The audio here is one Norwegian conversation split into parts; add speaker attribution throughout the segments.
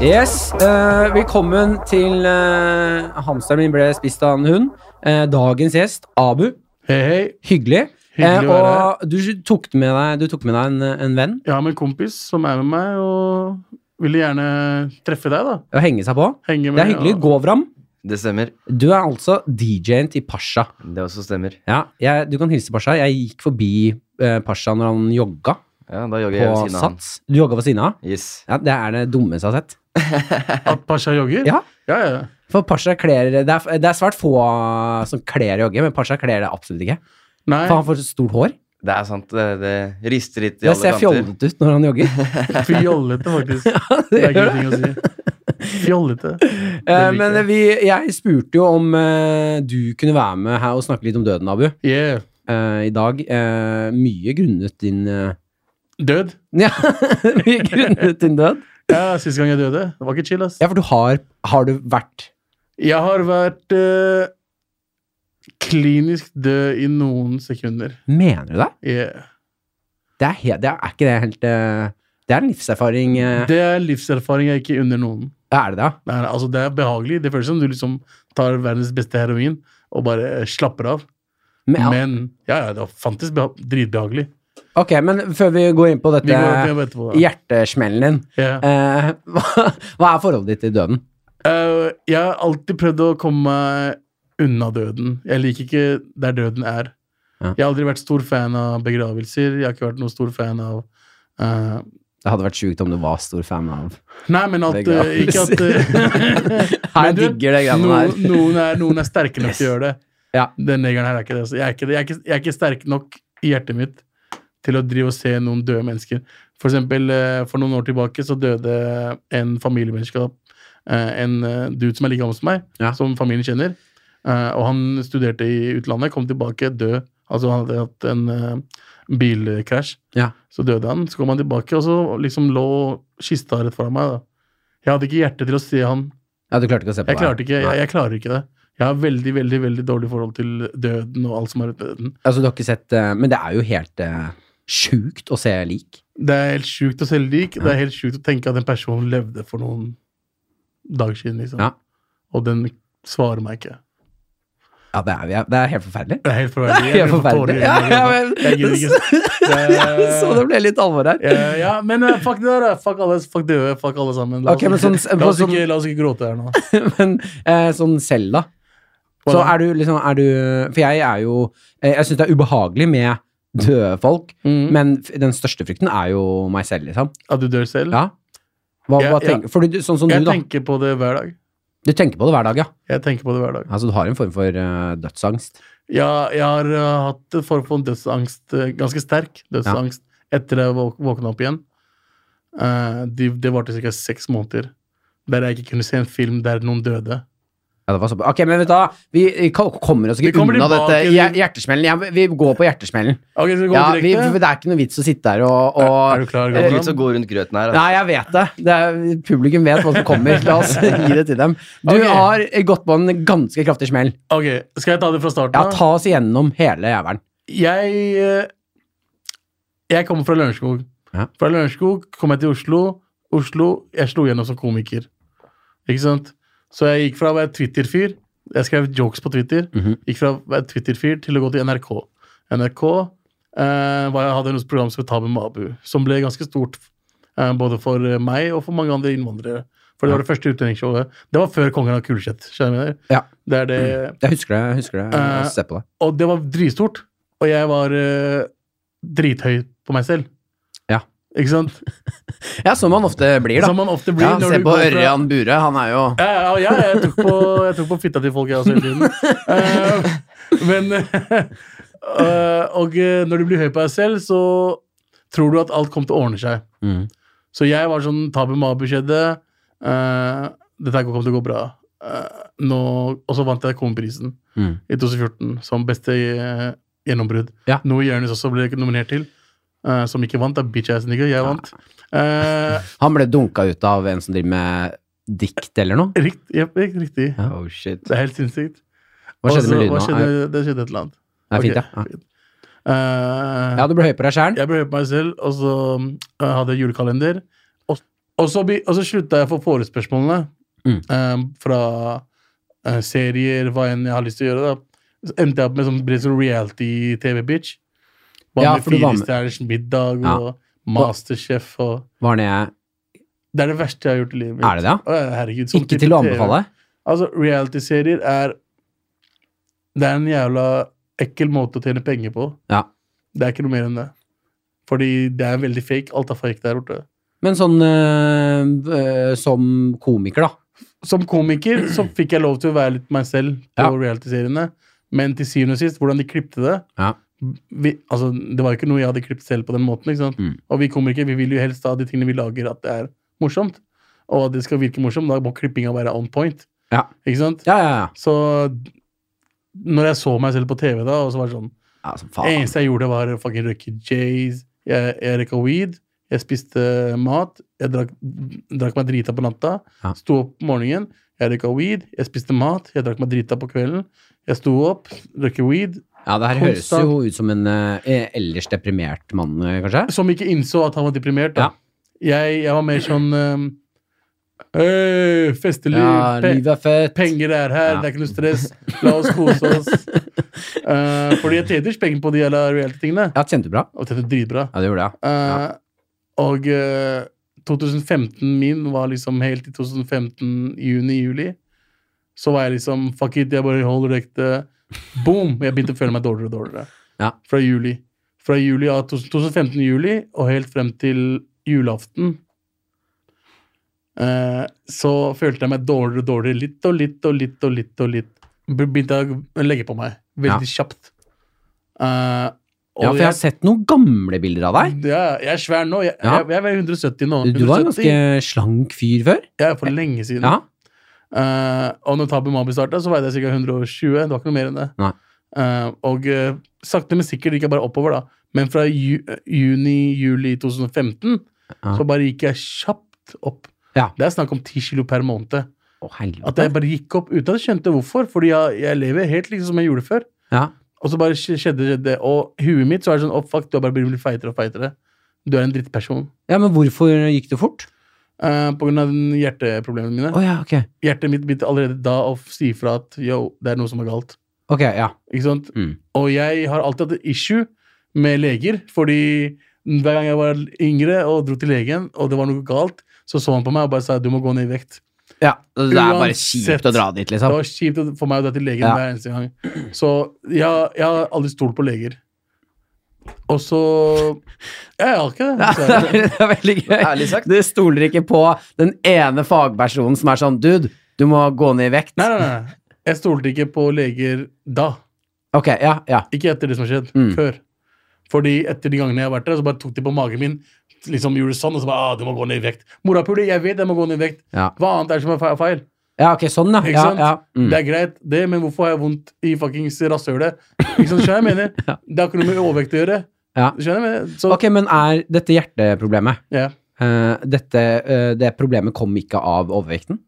Speaker 1: Yes, eh, velkommen til eh, Hamsteren min ble spist av en hund. Eh, dagens gjest, Abu.
Speaker 2: Hei, hei.
Speaker 1: Hyggelig. Eh,
Speaker 2: Hyggelig å
Speaker 1: og
Speaker 2: være her.
Speaker 1: du tok med deg, du tok med deg en, en venn
Speaker 2: Jeg har med en kompis som er med meg, og ville gjerne treffe deg, da.
Speaker 1: å henge seg på.
Speaker 2: Henge med.
Speaker 1: Det er hyggelig.
Speaker 2: og-
Speaker 1: Govram,
Speaker 3: Det stemmer.
Speaker 1: du er altså DJ-en til Pasha.
Speaker 3: Det også stemmer.
Speaker 1: Ja, jeg, du kan hilse Pasha. Jeg gikk forbi eh, Pasha når han jogga
Speaker 3: Ja, da jogger jeg
Speaker 1: på
Speaker 3: ved siden av han.
Speaker 1: Sats. Du jogga på siden av?
Speaker 3: Yes.
Speaker 1: Ja, det er det dummeste jeg har sett.
Speaker 2: At Pasha jogger?
Speaker 1: Ja.
Speaker 2: ja, ja.
Speaker 1: For Pasha kler det er, det er svært få som kler å jogge, men Pasha kler det absolutt ikke.
Speaker 2: Nei,
Speaker 1: For han får så stort hår.
Speaker 3: Det er sant. Det, det rister litt i
Speaker 1: Det
Speaker 3: alle
Speaker 1: ser
Speaker 3: kanter.
Speaker 1: fjollete ut når han jogger.
Speaker 2: fjollete, faktisk. Det er
Speaker 1: Det
Speaker 2: ikke
Speaker 1: gjør
Speaker 2: en ting å si. Fjollete.
Speaker 1: Eh,
Speaker 2: liker
Speaker 1: Men
Speaker 2: jeg.
Speaker 1: vi, jeg spurte jo om eh, du kunne være med her og snakke litt om døden, Abu,
Speaker 2: Yeah.
Speaker 1: eh, i dag. Eh, mye grunnet din eh,
Speaker 2: Død.
Speaker 1: Ja, mye grunnet din død.
Speaker 2: Ja, Sist gang jeg døde. Det var ikke chill, ass.
Speaker 1: Ja, for du har Har du vært
Speaker 2: Jeg har vært eh, klinisk død i noen sekunder.
Speaker 1: Mener du det?
Speaker 2: Yeah.
Speaker 1: Det er, he- det er, er ikke det helt eh, Det er en livserfaring. eh,
Speaker 2: Det er livserfaring jeg ikke unner noen.
Speaker 1: er det det? ja?
Speaker 2: Nei, nei, altså Det er behagelig. Det føles som du liksom tar verdens beste heroin og bare eh, slapper av.
Speaker 1: Men, ja.
Speaker 2: Men ja, ja, det var fantes beha- dritbehagelig.
Speaker 1: Ok, men før vi går inn på
Speaker 2: Vi
Speaker 1: dette
Speaker 2: går opp igjen etterpå. da.
Speaker 1: hjertesmellen din,
Speaker 2: Ja.
Speaker 1: eh, hva, hva er forholdet ditt til døden?
Speaker 2: Eh, jeg har alltid prøvd å komme meg unna døden. Jeg liker ikke der døden er.
Speaker 1: Ja.
Speaker 2: Jeg har aldri vært stor fan av begravelser. Jeg har ikke vært noen stor fan av eh,
Speaker 1: Det hadde vært sjukt om du var stor fan av
Speaker 2: Nei, men at eh, Ikke at eh,
Speaker 1: Her
Speaker 2: Men du,
Speaker 1: digger det greiene
Speaker 2: noen,
Speaker 1: her.
Speaker 2: noen, er, noen er sterke nok til å gjøre det.
Speaker 1: Ja.
Speaker 2: Den negeren her er ikke det. Altså. Jeg, er ikke, det. jeg, er ikke, jeg er ikke sterk nok i hjertet mitt til å drive og se noen døde mennesker. For eksempel, eh, for noen år tilbake så døde en familiemenneskap, eh, en eh, dude som er like gammel som meg,
Speaker 1: Ja.
Speaker 2: som familien kjenner. Eh, Og han studerte i utlandet, kom tilbake død. Altså han hadde hatt en eh, bilkrasj.
Speaker 1: Ja.
Speaker 2: Så døde han. Så kom han tilbake, og så liksom lå kista rett foran meg. da. Jeg hadde ikke hjerte til å se han
Speaker 1: Ja, du klarte ikke å se på
Speaker 2: jeg klarte ikke,
Speaker 1: Nei.
Speaker 2: jeg, jeg klarer ikke det. Jeg har veldig veldig, veldig dårlig forhold til døden og alt som er rundt døden.
Speaker 1: Altså, du har ikke sett eh, Men det er jo helt eh, sjukt å se lik.
Speaker 2: Det er helt sjukt å selge lik. Det er helt sjukt å tenke at en person levde for noen dager siden. liksom.
Speaker 1: Ja.
Speaker 2: Og den svarer meg ikke.
Speaker 1: Ja, det er, vi- det er helt forferdelig.
Speaker 2: Det er helt forferdelig.
Speaker 1: Helt
Speaker 2: Jeg blir
Speaker 1: forferdelig.
Speaker 2: tårer i
Speaker 1: Ja, ja,
Speaker 2: øynene. liksom.
Speaker 1: men,
Speaker 2: Jeg gidder ikke.
Speaker 1: Jeg så det ble litt alvor her.
Speaker 2: Eh, ja, men eh, fuck det der. eh. Fuck alle, fuck døde, fuck alle sammen. La oss,
Speaker 1: Ok, men sånn,
Speaker 2: la oss,
Speaker 1: sånn,
Speaker 2: ikke, la oss ikke gråte her nå.
Speaker 1: men, eh, sånn selv, da. Så
Speaker 2: Voilà.
Speaker 1: er du liksom er du, For jeg er jo eh, Jeg syns det er ubehagelig med døde folk,
Speaker 2: Mm.
Speaker 1: men f- den største frykten er jo meg selv, liksom.
Speaker 2: At du dør selv?
Speaker 1: Ja. Hva,
Speaker 2: Mm. Ja,
Speaker 1: hva
Speaker 2: ja.
Speaker 1: tenker, for du, sånn som du,
Speaker 2: jeg
Speaker 1: da.
Speaker 2: tenker på det hver dag.
Speaker 1: Du tenker på det hver dag, ja.
Speaker 2: Jeg tenker på det hver dag.
Speaker 1: Altså, du har en form for eh, dødsangst.
Speaker 2: Ja, jeg har eh, hatt en form for dødsangst, eh, ganske sterk dødsangst, etter jeg våk- våkna opp igjen. Eh, de, det varte ca. seks måneder, der jeg ikke kunne se en film der noen døde.
Speaker 1: Ja, det var så bra. Ok, men vet du hva, vi vi ko- kommer oss
Speaker 2: Vi
Speaker 1: ikke
Speaker 2: kommer
Speaker 1: unna
Speaker 2: tilbake
Speaker 1: dette
Speaker 2: til-
Speaker 1: hjer- hjertesmellen. Jeg, vi går på hjertesmellen.
Speaker 2: Ok, så vi går
Speaker 1: Ja, vi, Eh,
Speaker 2: direkte.
Speaker 1: for det er ikke noe vits å sitte her og,
Speaker 2: er
Speaker 1: og
Speaker 2: du klar,
Speaker 3: Det er
Speaker 2: Gordon?
Speaker 3: litt å gå rundt grøten her. Altså.
Speaker 1: Nei, jeg vet det. det er, publikum vet hva som kommer. La oss gi det til dem. Du
Speaker 2: Ok.
Speaker 1: har gått på en ganske kraftig smell.
Speaker 2: Ok, Skal jeg ta det fra starten?
Speaker 1: Ja,
Speaker 2: av?
Speaker 1: ta oss igjennom hele jævelen.
Speaker 2: Jeg eh, Jeg kommer fra Lørenskog.
Speaker 1: Ja.
Speaker 2: Fra Lørenskog kom jeg til Oslo. Oslo, Jeg slo gjennom som komiker. Ikke sant? Så jeg gikk fra å være Twitter-fyr Jeg skrev jokes på Twitter.
Speaker 1: Mhm.
Speaker 2: Gikk fra å være Twitter-fyr til å gå til NRK. NRK eh, var, jeg hadde et program som het Tabu med Abu, som ble ganske stort eh, både for eh, meg og for mange andre innvandrere. For det
Speaker 1: Ja.
Speaker 2: var det første utlendingsshowet. Det var før Kongen av Kulset. skjønner du hva jeg mener?
Speaker 1: Ja. Mm.
Speaker 2: Det er det
Speaker 1: Jeg husker det. Jeg husker det.
Speaker 2: Eh,
Speaker 1: Jeg ser på det.
Speaker 2: og det var dritstort. Og jeg var eh, drithøy på meg selv.
Speaker 1: Ja.
Speaker 2: Ikke sant?
Speaker 1: Ja, som man ofte blir, da.
Speaker 2: Som man ofte blir
Speaker 1: Ja,
Speaker 2: når
Speaker 1: se
Speaker 2: du
Speaker 1: på
Speaker 2: går fra-
Speaker 1: Ørjan Bure. Han er jo
Speaker 2: Ja, ja, ja jeg, tok på, jeg tok på fitta til folk, jeg også, hele tiden. Eh, men eh, Og eh, når du blir høy på deg selv, så tror du at alt kommer til å ordne seg.
Speaker 1: mm.
Speaker 2: Så jeg var sånn tabu mabu skjedde. eh, dette her kommer til å gå bra. Eh, nå, og så vant jeg Komiprisen
Speaker 1: Mm.
Speaker 2: i 2014 som beste eh, gjennombrudd.
Speaker 1: Ja.
Speaker 2: Noe Jonis også ble nominert til, eh, som ikke vant. Det er bitch ass nigga. Jeg vant. Eh,
Speaker 1: Han ble dunka ut av en som driver med dikt eller noe.
Speaker 2: rikt, jep, jep, riktig.
Speaker 1: Ja.
Speaker 3: Oh shit.
Speaker 2: Det er helt sinnssykt.
Speaker 1: Hva skjedde
Speaker 2: Også-
Speaker 1: med lyden
Speaker 2: hva
Speaker 1: nå? Er-
Speaker 2: skjedde- Det skjedde et eller annet.
Speaker 1: Det er
Speaker 2: Ok,
Speaker 1: fint, ja.
Speaker 2: fint. Eh,
Speaker 1: Ja, du ble høy på deg sjæl.
Speaker 2: Jeg ble høy på meg selv, og så eh, hadde jeg um, julekalender. Og, Og så, be- og så slutta jeg å få forespørsmålene
Speaker 1: Mm.
Speaker 2: eh, fra eh, serier, hva enn jeg har lyst til å gjøre. da. Så endte jeg opp med sånn, ble sånn reality-TV-bitch. Var
Speaker 1: Ja,
Speaker 2: med
Speaker 1: for du var
Speaker 2: Fire
Speaker 1: med.
Speaker 2: stjerners middag
Speaker 1: Ja.
Speaker 2: og Masterchef og
Speaker 1: Var det jeg
Speaker 2: Det er det verste jeg har gjort i livet mitt.
Speaker 1: Er det det? ja?
Speaker 2: Å, herregud, sånn
Speaker 1: Ikke
Speaker 2: type
Speaker 1: til å
Speaker 2: TV.
Speaker 1: anbefale?
Speaker 2: Altså, reality-serier er Det er en jævla ekkel måte å tjene penger på.
Speaker 1: Ja.
Speaker 2: Det er ikke noe mer enn det. Fordi det er veldig fake. Alt er fake der borte.
Speaker 1: Men sånn øh, øh, som komiker, da.
Speaker 2: Som komiker så fikk jeg lov til å være litt meg selv på
Speaker 1: Ja.
Speaker 2: reality-seriene. Men til syvende og sist, hvordan de klipte det
Speaker 1: Ja.
Speaker 2: vi, altså, Det var jo ikke noe jeg hadde klippet selv på den måten. ikke sant?
Speaker 1: Mm.
Speaker 2: Og vi komikere vi vil jo helst av de tingene vi lager, at det er morsomt. Og at det skal virke morsomt. Da må klippinga være on point.
Speaker 1: Ja.
Speaker 2: Ikke sant?
Speaker 1: Ja, ja, ja.
Speaker 2: Så når jeg så meg selv på TV, da, og så var det sånn
Speaker 1: ja som
Speaker 2: Det
Speaker 1: faen.
Speaker 2: eneste jeg gjorde, var å fucking røyke J's. Jeg, jeg røyka weed. Jeg spiste mat. Jeg drakk, drakk meg drita på natta.
Speaker 1: Ja.
Speaker 2: Sto opp om morgenen. Jeg røyka weed. Jeg spiste mat. Jeg drakk meg drita på kvelden. Jeg sto opp, røyka weed.
Speaker 1: Ja, det her høres
Speaker 2: konstant-
Speaker 1: jo ut som en øh, ellers deprimert mann, øh, kanskje?
Speaker 2: Som ikke innså at han var deprimert. da. Jeg, jeg var mer sånn um, «Øy, Festeliv.
Speaker 1: Ja,
Speaker 2: pe-
Speaker 1: livet er fett.
Speaker 2: Penger er her,
Speaker 1: Ja.
Speaker 2: det er ikke noe stress. La oss kose oss. Eh, fordi jeg tjente ikke penger på de jævla reality-tingene.
Speaker 1: Ja, tjente du bra?
Speaker 2: Og tjente dritbra.
Speaker 1: Ja, det gjorde jeg.
Speaker 2: Eh, Og eh, 2015 min var liksom helt til 2015, juni-juli. Så var jeg liksom Fuck it, jeg bare holder ekte. Boom! Jeg begynte å føle meg dårligere og dårligere.
Speaker 1: Ja.
Speaker 2: Fra juli. Fra juli av 2015 juli og helt frem til julaften. eh, så følte jeg meg dårligere og dårligere. Litt og litt og litt og litt. og litt. Be- Begynte å legge på meg. Veldig kjapt. Eh, og
Speaker 1: Ja, for jeg har sett noen gamle bilder av deg.
Speaker 2: ja, jeg er svær nå. Jeg,
Speaker 1: Ja.
Speaker 2: jeg, jeg er 170 nå.
Speaker 1: Du, du var en
Speaker 2: 170.
Speaker 1: ganske slank fyr før.
Speaker 2: Jeg er for lenge siden.
Speaker 1: Ja.
Speaker 2: Eh, og når Tabu Mabi starta, så veide jeg ca. 120. Det var ikke noe mer enn det.
Speaker 1: Nei.
Speaker 2: Eh, og eh, sakte, men sikkert gikk jeg bare oppover, da. Men fra ju juni-juli 2015
Speaker 1: Ja.
Speaker 2: så bare gikk jeg kjapt opp.
Speaker 1: Ja.
Speaker 2: Det er snakk om 10 kilo per måned.
Speaker 1: Å,
Speaker 2: At jeg
Speaker 1: helvete.
Speaker 2: bare gikk opp uten at jeg skjønte hvorfor. Fordi jeg, jeg lever helt liksom som jeg gjorde før.
Speaker 1: Ja.
Speaker 2: Og så bare skj- skjedde skjedde det. Og huet mitt så er det sånn Å, fuck, du har bare blitt feitere og feitere. Du er en drittperson.
Speaker 1: ja, men hvorfor gikk det fort?
Speaker 2: Eh, på grunn av den hjerteproblemene mine.
Speaker 1: Å ja, ok.
Speaker 2: Hjertet mitt begynte allerede da å f- si fra at yo, det er noe som er galt.
Speaker 1: Ok, ja.
Speaker 2: Ikke sant?
Speaker 1: Mm.
Speaker 2: Og jeg har alltid hatt et issue med leger, fordi hver gang jeg var yngre og dro til legen, og det var noe galt, så så han på meg og bare sa du må gå ned i vekt.
Speaker 1: Ja, Det er bare
Speaker 2: Uansett.
Speaker 1: kjipt å dra dit,
Speaker 2: Det
Speaker 1: liksom.
Speaker 2: var kjipt for meg å dra til legen
Speaker 1: Ja.
Speaker 2: hver eneste gang. Så jeg, jeg har aldri stolt på leger. Og så Jeg har ikke det.
Speaker 1: Ja, det
Speaker 2: dessverre.
Speaker 1: er, det er veldig gøy.
Speaker 3: Ærlig sagt.
Speaker 1: Du stoler ikke på den ene fagpersonen som er sånn Dude, du må gå ned i vekt.
Speaker 2: Nei, nei, nei. Jeg stolte ikke på leger da.
Speaker 1: Ok, ja, ja.
Speaker 2: Ikke etter det som har skjedd.
Speaker 1: Mm.
Speaker 2: Før. Fordi etter de gangene jeg har vært der, så bare tok de på magen min. Liksom gjorde sånn, og så bare ah, 'Du må gå ned i vekt'. Morapule, jeg vet jeg må gå ned i vekt.
Speaker 1: Ja.
Speaker 2: Hva annet er det som er fe- feil?
Speaker 1: ja ok, sånn, ja.
Speaker 2: Ikke
Speaker 1: ja,
Speaker 2: sant?
Speaker 1: ja. Mm.
Speaker 2: Det er greit, det, men hvorfor har jeg vondt i fuckings rasshølet? Ikke sant, skjønner jeg mener? Det har ikke noe med overvekt å gjøre.
Speaker 1: Ja.
Speaker 2: Skjønner jeg mener? Så,
Speaker 1: Ok, men er dette hjerteproblemet
Speaker 2: sånn. ja.
Speaker 1: eh, dette, eh, Det problemet kom ikke av overvekten?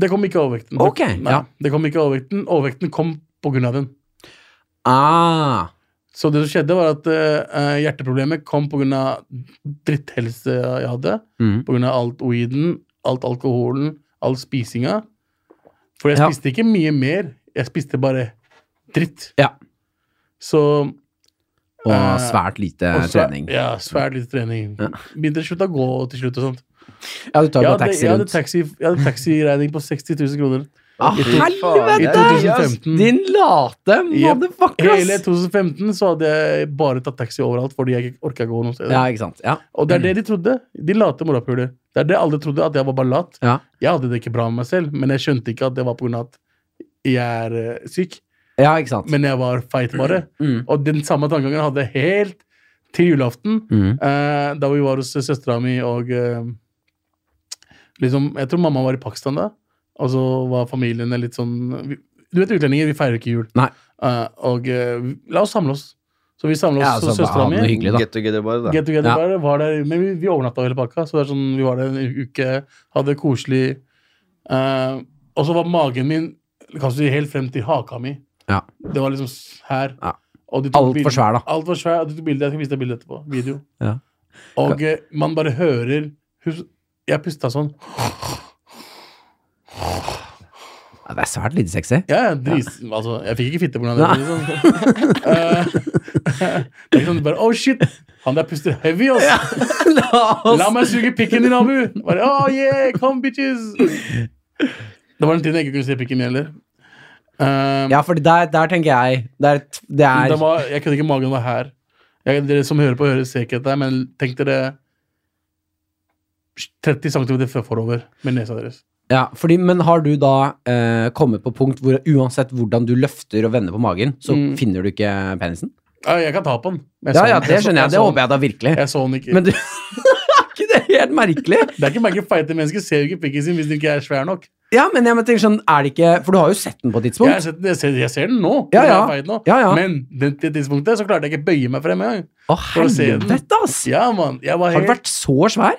Speaker 2: Det kom ikke av overvekten.
Speaker 1: Ok,
Speaker 2: Nei,
Speaker 1: ja.
Speaker 2: det kom ikke av overvekten. Overvekten kom på grunn av den.
Speaker 1: Ah,
Speaker 2: Så det som skjedde, var at eh, hjerteproblemet kom på grunn av dritthelse jeg hadde.
Speaker 1: mm.
Speaker 2: På grunn av alt weeden, alt alkoholen, all spisinga. For jeg
Speaker 1: Ja.
Speaker 2: spiste ikke mye mer. Jeg spiste bare dritt.
Speaker 1: Ja.
Speaker 2: Så
Speaker 1: Og
Speaker 2: Eh,
Speaker 1: svært lite
Speaker 2: og svær-
Speaker 1: trening.
Speaker 2: Ja, svært lite trening.
Speaker 1: Ja.
Speaker 2: Begynte å slutte å gå til slutt og sånt.
Speaker 1: Ja, du tar
Speaker 2: Jeg
Speaker 1: jo bare
Speaker 2: hadde,
Speaker 1: taxi
Speaker 2: jeg hadde
Speaker 1: rundt.
Speaker 2: taxi- jeg hadde taxiregning på 60 000 kroner
Speaker 1: Ah,
Speaker 3: Fy
Speaker 2: i
Speaker 3: faen.
Speaker 1: helvete!
Speaker 3: Nei, ass,
Speaker 2: 2015.
Speaker 1: Din late
Speaker 2: Jep.
Speaker 1: motherfucker!
Speaker 2: Hele
Speaker 1: ass.
Speaker 2: 2015 så hadde jeg bare tatt taxi overalt fordi jeg ikke orka å gå noe sted.
Speaker 1: Ja, ikke sant. Ja.
Speaker 2: Og det er det de trodde. De late morapuler. Det er det alle trodde, at jeg var bare lat.
Speaker 1: Ja.
Speaker 2: Jeg hadde det ikke bra med meg selv, men jeg skjønte ikke at det var pga. at jeg er eh, syk.
Speaker 1: ja, ikke sant.
Speaker 2: Men jeg var feit, bare.
Speaker 1: Mm.
Speaker 2: Og den samme tankegangen hadde jeg helt til julaften,
Speaker 1: Mm.
Speaker 2: eh, da vi var hos søstera mi og eh, liksom, Jeg tror mamma var i Pakistan da, og så var familien litt sånn vi, Du vet utlendinger, vi feirer ikke jul.
Speaker 1: Nei.
Speaker 2: Eh, og eh, vi- la oss samle oss. Så vi samla oss
Speaker 1: Ja,
Speaker 2: hos
Speaker 1: altså, ha
Speaker 2: søstera
Speaker 1: det
Speaker 2: mi.
Speaker 1: noe hyggelig, da.
Speaker 3: Get together, bare, da.
Speaker 2: Get together
Speaker 1: Ja.
Speaker 2: bare, var der, men vi, vi overnatta hele pakka, så det er sånn, vi var der en uke, hadde det koselig. Eh, og så var magen min kanskje helt frem til haka mi.
Speaker 1: Ja.
Speaker 2: Det var liksom s- her.
Speaker 1: Ja.
Speaker 2: Og de tok
Speaker 1: Alt
Speaker 2: bild-
Speaker 1: for svær, da.
Speaker 2: Alt var svær, og du tok bilde. Jeg skal vise deg bildet etterpå. Video.
Speaker 1: Ja.
Speaker 2: Og eh, man bare hører hus, Jeg pusta sånn.
Speaker 1: Ja, det er svært lite sexy.
Speaker 2: Ja, ja, dris, Altså, jeg fikk ikke fitte pga. det. men Liksom. Eh, det er ikke sånn du bare Oh, shit! Han der puster heavy, ass!
Speaker 1: La
Speaker 2: La meg suge pikken din, Abu! Bare, oh, yeah, kom, bitches! Det var den tiden jeg ikke kunne se pikken min heller. Eh,
Speaker 1: Ja, for der, der tenker jeg Det er, det er
Speaker 2: den var, jeg kunne ikke magen var her. Jeg, dere som hører på, hører ser ikke dette, men tenk dere 30 cm forover med nesa deres.
Speaker 1: Ja, fordi, men har du da eh, kommet på punkt hvor uansett hvordan du løfter og vender på magen, så
Speaker 2: Mm.
Speaker 1: finner du ikke penisen?
Speaker 2: Ja, jeg kan ta på den. men jeg
Speaker 1: Ja,
Speaker 2: så
Speaker 1: ja,
Speaker 2: den-
Speaker 1: det
Speaker 2: så-
Speaker 1: skjønner jeg. Det
Speaker 2: så
Speaker 1: håper jeg da virkelig.
Speaker 2: den- Jeg så den ikke.
Speaker 1: Men du Er ikke det helt merkelig?
Speaker 2: Det er ikke mange feite mennesker ser jo ikke pikken sin hvis den ikke er svær nok.
Speaker 1: Ja, men jeg må tenke sånn, er det ikke For du har jo sett den på et
Speaker 2: Jeg, har
Speaker 1: tidspunkt.
Speaker 2: sett den, jeg, ser, jeg ser den nå.
Speaker 1: Ja,
Speaker 2: den
Speaker 1: ja.
Speaker 2: er feit nå.
Speaker 1: Ja, ja.
Speaker 2: Men den, det tidspunktet så klarte jeg ikke bøye meg frem engang.
Speaker 1: Å,
Speaker 2: for å se den.
Speaker 1: helvete, ass!
Speaker 2: Ja, mann. Jeg var
Speaker 1: Har
Speaker 2: helt
Speaker 1: den vært så svær?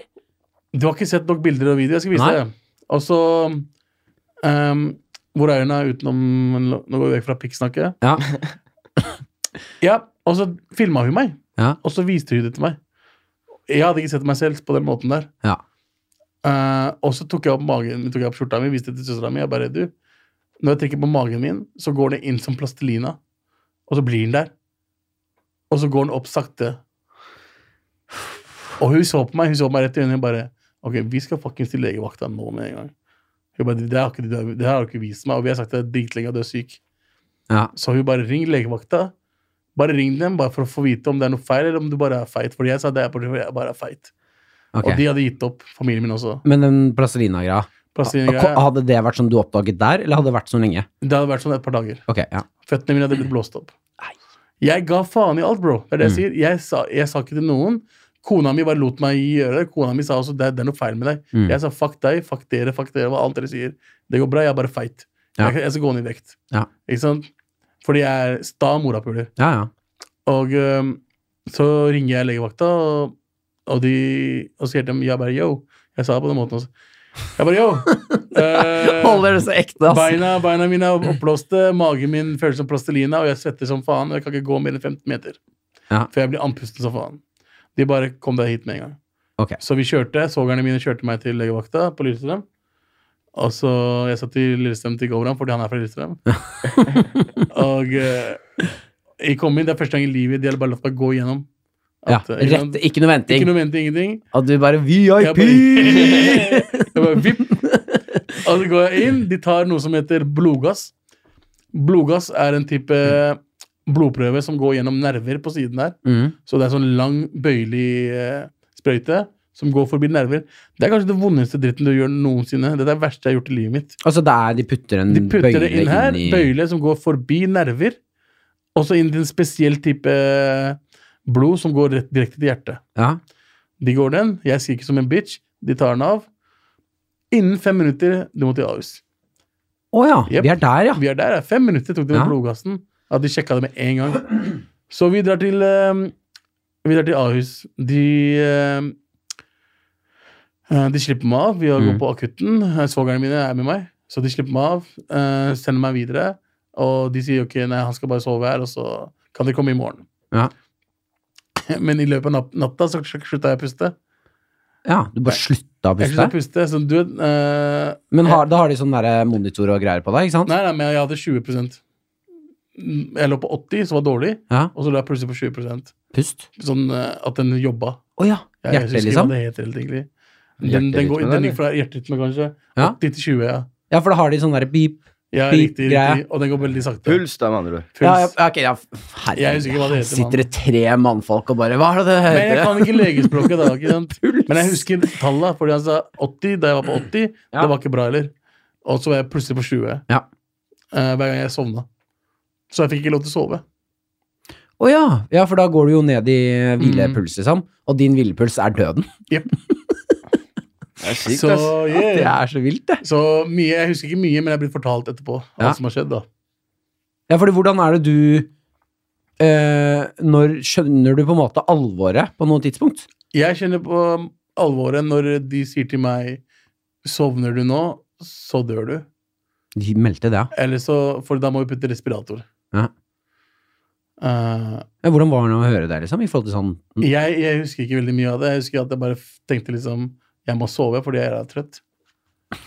Speaker 2: Du har ikke sett nok bilder og videoer. Jeg skal vise
Speaker 1: Nei.
Speaker 2: deg. Og så ehm, Hvor er hun da, utenom Nå går vi vekk fra pikksnakket.
Speaker 1: Ja.
Speaker 2: ja, og så filma hun meg.
Speaker 1: Ja.
Speaker 2: Og så viste hun det til meg. Jeg hadde ikke sett meg selv på den måten der.
Speaker 1: Ja.
Speaker 2: Eh, og så tok jeg opp magen, tok jeg opp skjorta mi, viste det til søstera mi. Jeg bare, du, når jeg trekker på magen min, så går det inn som plastelina. Og så blir den der. Og så går den opp sakte. Og hun så på meg hun så på meg rett i øynene og bare Ok, vi skal fuckings til legevakta nå med en gang. Hun bare, det, har ikke, du- det her har du ikke vist meg, og vi har sagt det dritlenge at du er syk.
Speaker 1: Ja.
Speaker 2: Så hun bare ring legevakta. Bare ring dem bare for å få vite om det er noe feil, eller om du bare er feit. Fordi jeg sa det er fordi jeg bare er feit.
Speaker 1: Ok.
Speaker 2: Og de hadde gitt opp, familien min også.
Speaker 1: Men den plastelina-greia,
Speaker 2: Plastinggreia.
Speaker 1: hadde det vært sånn du oppdaget der, eller hadde det vært sånn lenge?
Speaker 2: Det hadde vært sånn et par dager.
Speaker 1: Ok, ja.
Speaker 2: Føttene mine hadde blitt blåst opp.
Speaker 1: Nei.
Speaker 2: Jeg ga faen i alt, bro. Det er det jeg
Speaker 1: Mm.
Speaker 2: sier. Jeg sa, jeg sa ikke til noen. Kona mi bare lot meg gjøre det. Kona mi sa også det, det er noe feil med deg.
Speaker 1: Mm.
Speaker 2: Jeg sa fuck deg, fuck dere, fuck dere, hva alt dere sier. Det går bra, jeg er bare feit.
Speaker 1: Ja.
Speaker 2: Jeg, jeg skal gå ned i vekt.
Speaker 1: Ja.
Speaker 2: Ikke sant? Fordi jeg er sta morapuler.
Speaker 1: Ja, ja.
Speaker 2: Og øhm, så ringer jeg legevakta, og, og, de, og så sier de jeg bare yo. Jeg sa det på den måten også. Jeg bare yo! eh,
Speaker 1: Holder det så ekte, ass.
Speaker 2: Beina, beina mine er oppblåste, magen min føles som plastelina, og jeg svetter som faen. Og jeg kan ikke gå mer enn 15 meter.
Speaker 1: Ja.
Speaker 2: For jeg blir andpusten som faen. De bare kom deg hit med en gang.
Speaker 1: Ok.
Speaker 2: Så vi kjørte, sogerne mine kjørte meg til legevakta på Lillestrøm. Og så Jeg satt i Lillestrøm til Govran fordi han er fra Lillestrøm. og eh, jeg kom inn, det er første gang i livet de hadde bare latt meg gå igjennom.
Speaker 1: Ja,
Speaker 2: At, eh, ikke sant?
Speaker 1: rett, ikke noe
Speaker 2: Ikke
Speaker 1: venting.
Speaker 2: noe mente, ingenting.
Speaker 1: At du bare
Speaker 2: Jeg
Speaker 1: VIP!
Speaker 2: bare, jeg bare vipp. Og så går jeg inn. De tar noe som heter blodgass. Blodgass er en type blodprøve som går gjennom nerver på siden der.
Speaker 1: Mm.
Speaker 2: Så det er sånn lang, bøyelig eh, sprøyte som går forbi nerver. Det er kanskje det vondeste dritten du gjør noensinne. Det er det verste jeg har gjort i livet mitt.
Speaker 1: Altså, det er, de putter en
Speaker 2: De putter
Speaker 1: bøyle
Speaker 2: det inn her,
Speaker 1: i
Speaker 2: bøyle som går forbi nerver, og så inn til en spesiell type eh, blod som går rett, direkte til hjertet.
Speaker 1: Ja.
Speaker 2: De går den. Jeg sier ikke som en bitch. De tar den av. Innen fem minutter, du må til Ahus.
Speaker 1: Å ja,
Speaker 2: Jep.
Speaker 1: vi er der, ja.
Speaker 2: Vi er der, ja. Fem minutter tok det med
Speaker 1: Ja.
Speaker 2: blodgassen. At de sjekka det med en gang. Så vi drar til eh, Vi drar til Ahus. De eh, eh, De slipper meg av. Vi har
Speaker 1: Mm.
Speaker 2: gått på akutten. Eh, Svogerne mine er med meg, så de slipper meg av. eh, sender meg videre. Og de sier ok, nei, han skal bare sove her, og så kan de komme i morgen.
Speaker 1: Ja.
Speaker 2: Men i løpet av nat- natta så slutta jeg å puste.
Speaker 1: ja. Du bare slutta å
Speaker 2: Jeg
Speaker 1: puste?
Speaker 2: slutta å puste. Så du, vet, eh,
Speaker 1: Men har, da har de sånn der monitor og greier på deg, ikke sant?
Speaker 2: Nei, nei, men jeg hadde 20 Mm, Jeg lå på 80, som var dårlig,
Speaker 1: Ja,
Speaker 2: og så lå jeg plutselig på 20
Speaker 1: Pust.
Speaker 2: Sånn eh, at den jobba.
Speaker 1: Å ja.
Speaker 2: Jeg,
Speaker 1: Hjertet,
Speaker 2: husker
Speaker 1: liksom?
Speaker 2: hva det heter helt egentlig. Den, den, går,
Speaker 3: Hjerterytmen,
Speaker 2: den
Speaker 3: eller?
Speaker 2: gikk fra hjerterytme, kanskje,
Speaker 1: Ja.
Speaker 2: 80 til 20. Ja.
Speaker 1: Ja, for da har de sånn derre beep.
Speaker 2: Ja,
Speaker 1: Beep,
Speaker 2: riktig,
Speaker 1: greia.
Speaker 2: riktig. Og den går veldig sakte.
Speaker 3: Puls, da, med andre ord.
Speaker 2: Puls.
Speaker 1: Ja, ja, ok, ja.
Speaker 2: Jeg husker ikke hva det heter,
Speaker 1: Sitter det tre mannfolk og bare Hva er det det
Speaker 2: Men jeg
Speaker 1: heter?
Speaker 2: kan ikke legespråket da. ikke sant?
Speaker 1: Puls.
Speaker 2: Men jeg husker tallene, fordi han sa 80 da jeg var på 80.
Speaker 1: Ja.
Speaker 2: Det var ikke bra heller. Og så var jeg plutselig på 20
Speaker 1: Ja.
Speaker 2: Eh, hver gang jeg sovna. Så jeg fikk ikke lov til å sove.
Speaker 1: Å ja. ja, for da går du jo ned i
Speaker 2: Mm.
Speaker 1: hvilepuls, liksom. Og din hvilepuls er døden.
Speaker 3: Det er sykt,
Speaker 2: Så,
Speaker 3: ass.
Speaker 2: yeah.
Speaker 1: Det er så vilt, det.
Speaker 2: Så mye, jeg husker ikke mye, men jeg er blitt fortalt etterpå
Speaker 1: Ja.
Speaker 2: alt som har skjedd. da.
Speaker 1: Ja, fordi hvordan er det du eh, Når skjønner du på en måte alvoret på noe tidspunkt?
Speaker 2: Jeg kjenner på alvoret når de sier til meg Sovner du nå, så dør du.
Speaker 1: De meldte det, ja.
Speaker 2: Eller så, For da må vi putte respirator.
Speaker 1: Ja.
Speaker 2: Eh,
Speaker 1: Men Hvordan var det å høre det, liksom? I forhold til sånn
Speaker 2: jeg, jeg husker ikke veldig mye av det. Jeg husker at jeg bare f- tenkte liksom Jeg må sove fordi jeg er trøtt.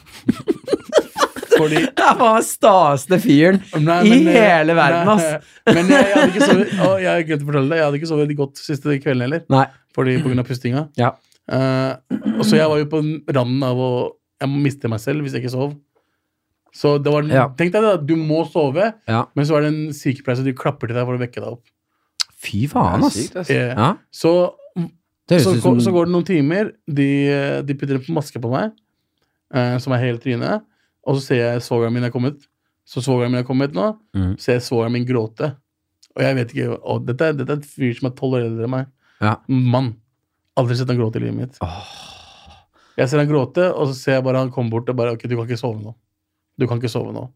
Speaker 2: fordi
Speaker 1: Det er bare stasende fyren.
Speaker 2: Nei,
Speaker 1: I
Speaker 2: men, eh,
Speaker 1: hele verden, ass.
Speaker 2: nei, Men jeg, jeg hadde ikke sovet å, Jeg glemte å fortelle deg, jeg hadde ikke sovet godt siste kvelden heller.
Speaker 1: Nei.
Speaker 2: Fordi på grunn av pustinga.
Speaker 1: Ja.
Speaker 2: Eh, og så jeg var jo på randen av å Jeg må miste meg selv hvis jeg ikke sov. Så det var,
Speaker 1: Ja.
Speaker 2: tenk deg det, da, du må sove,
Speaker 1: Ja.
Speaker 2: men så er det en sykepleier som de klapper til deg for å vekke deg opp.
Speaker 1: Fy
Speaker 3: Det er
Speaker 1: faen, ass.
Speaker 3: sykt, ass.
Speaker 2: Eh,
Speaker 1: Ja,
Speaker 2: Så,
Speaker 1: det
Speaker 2: så,
Speaker 1: høres ut
Speaker 2: går- så
Speaker 1: som
Speaker 2: går det noen timer, de, de putter en maske på meg, eh, som er hele trynet, og så ser jeg svogeren min er kommet. Så svogeren min er kommet nå,
Speaker 1: Mhm.
Speaker 2: ser jeg svogeren min gråte. Og jeg vet ikke, å, dette, er- dette er et fyr som er tolv år eldre enn meg.
Speaker 1: Ja.
Speaker 2: Mann. Aldri sett han gråte i livet mitt.
Speaker 1: Åh.
Speaker 2: Jeg ser han gråte, og så ser jeg bare han komme bort og bare Ok, du kan ikke sove nå. Du kan ikke sove nå.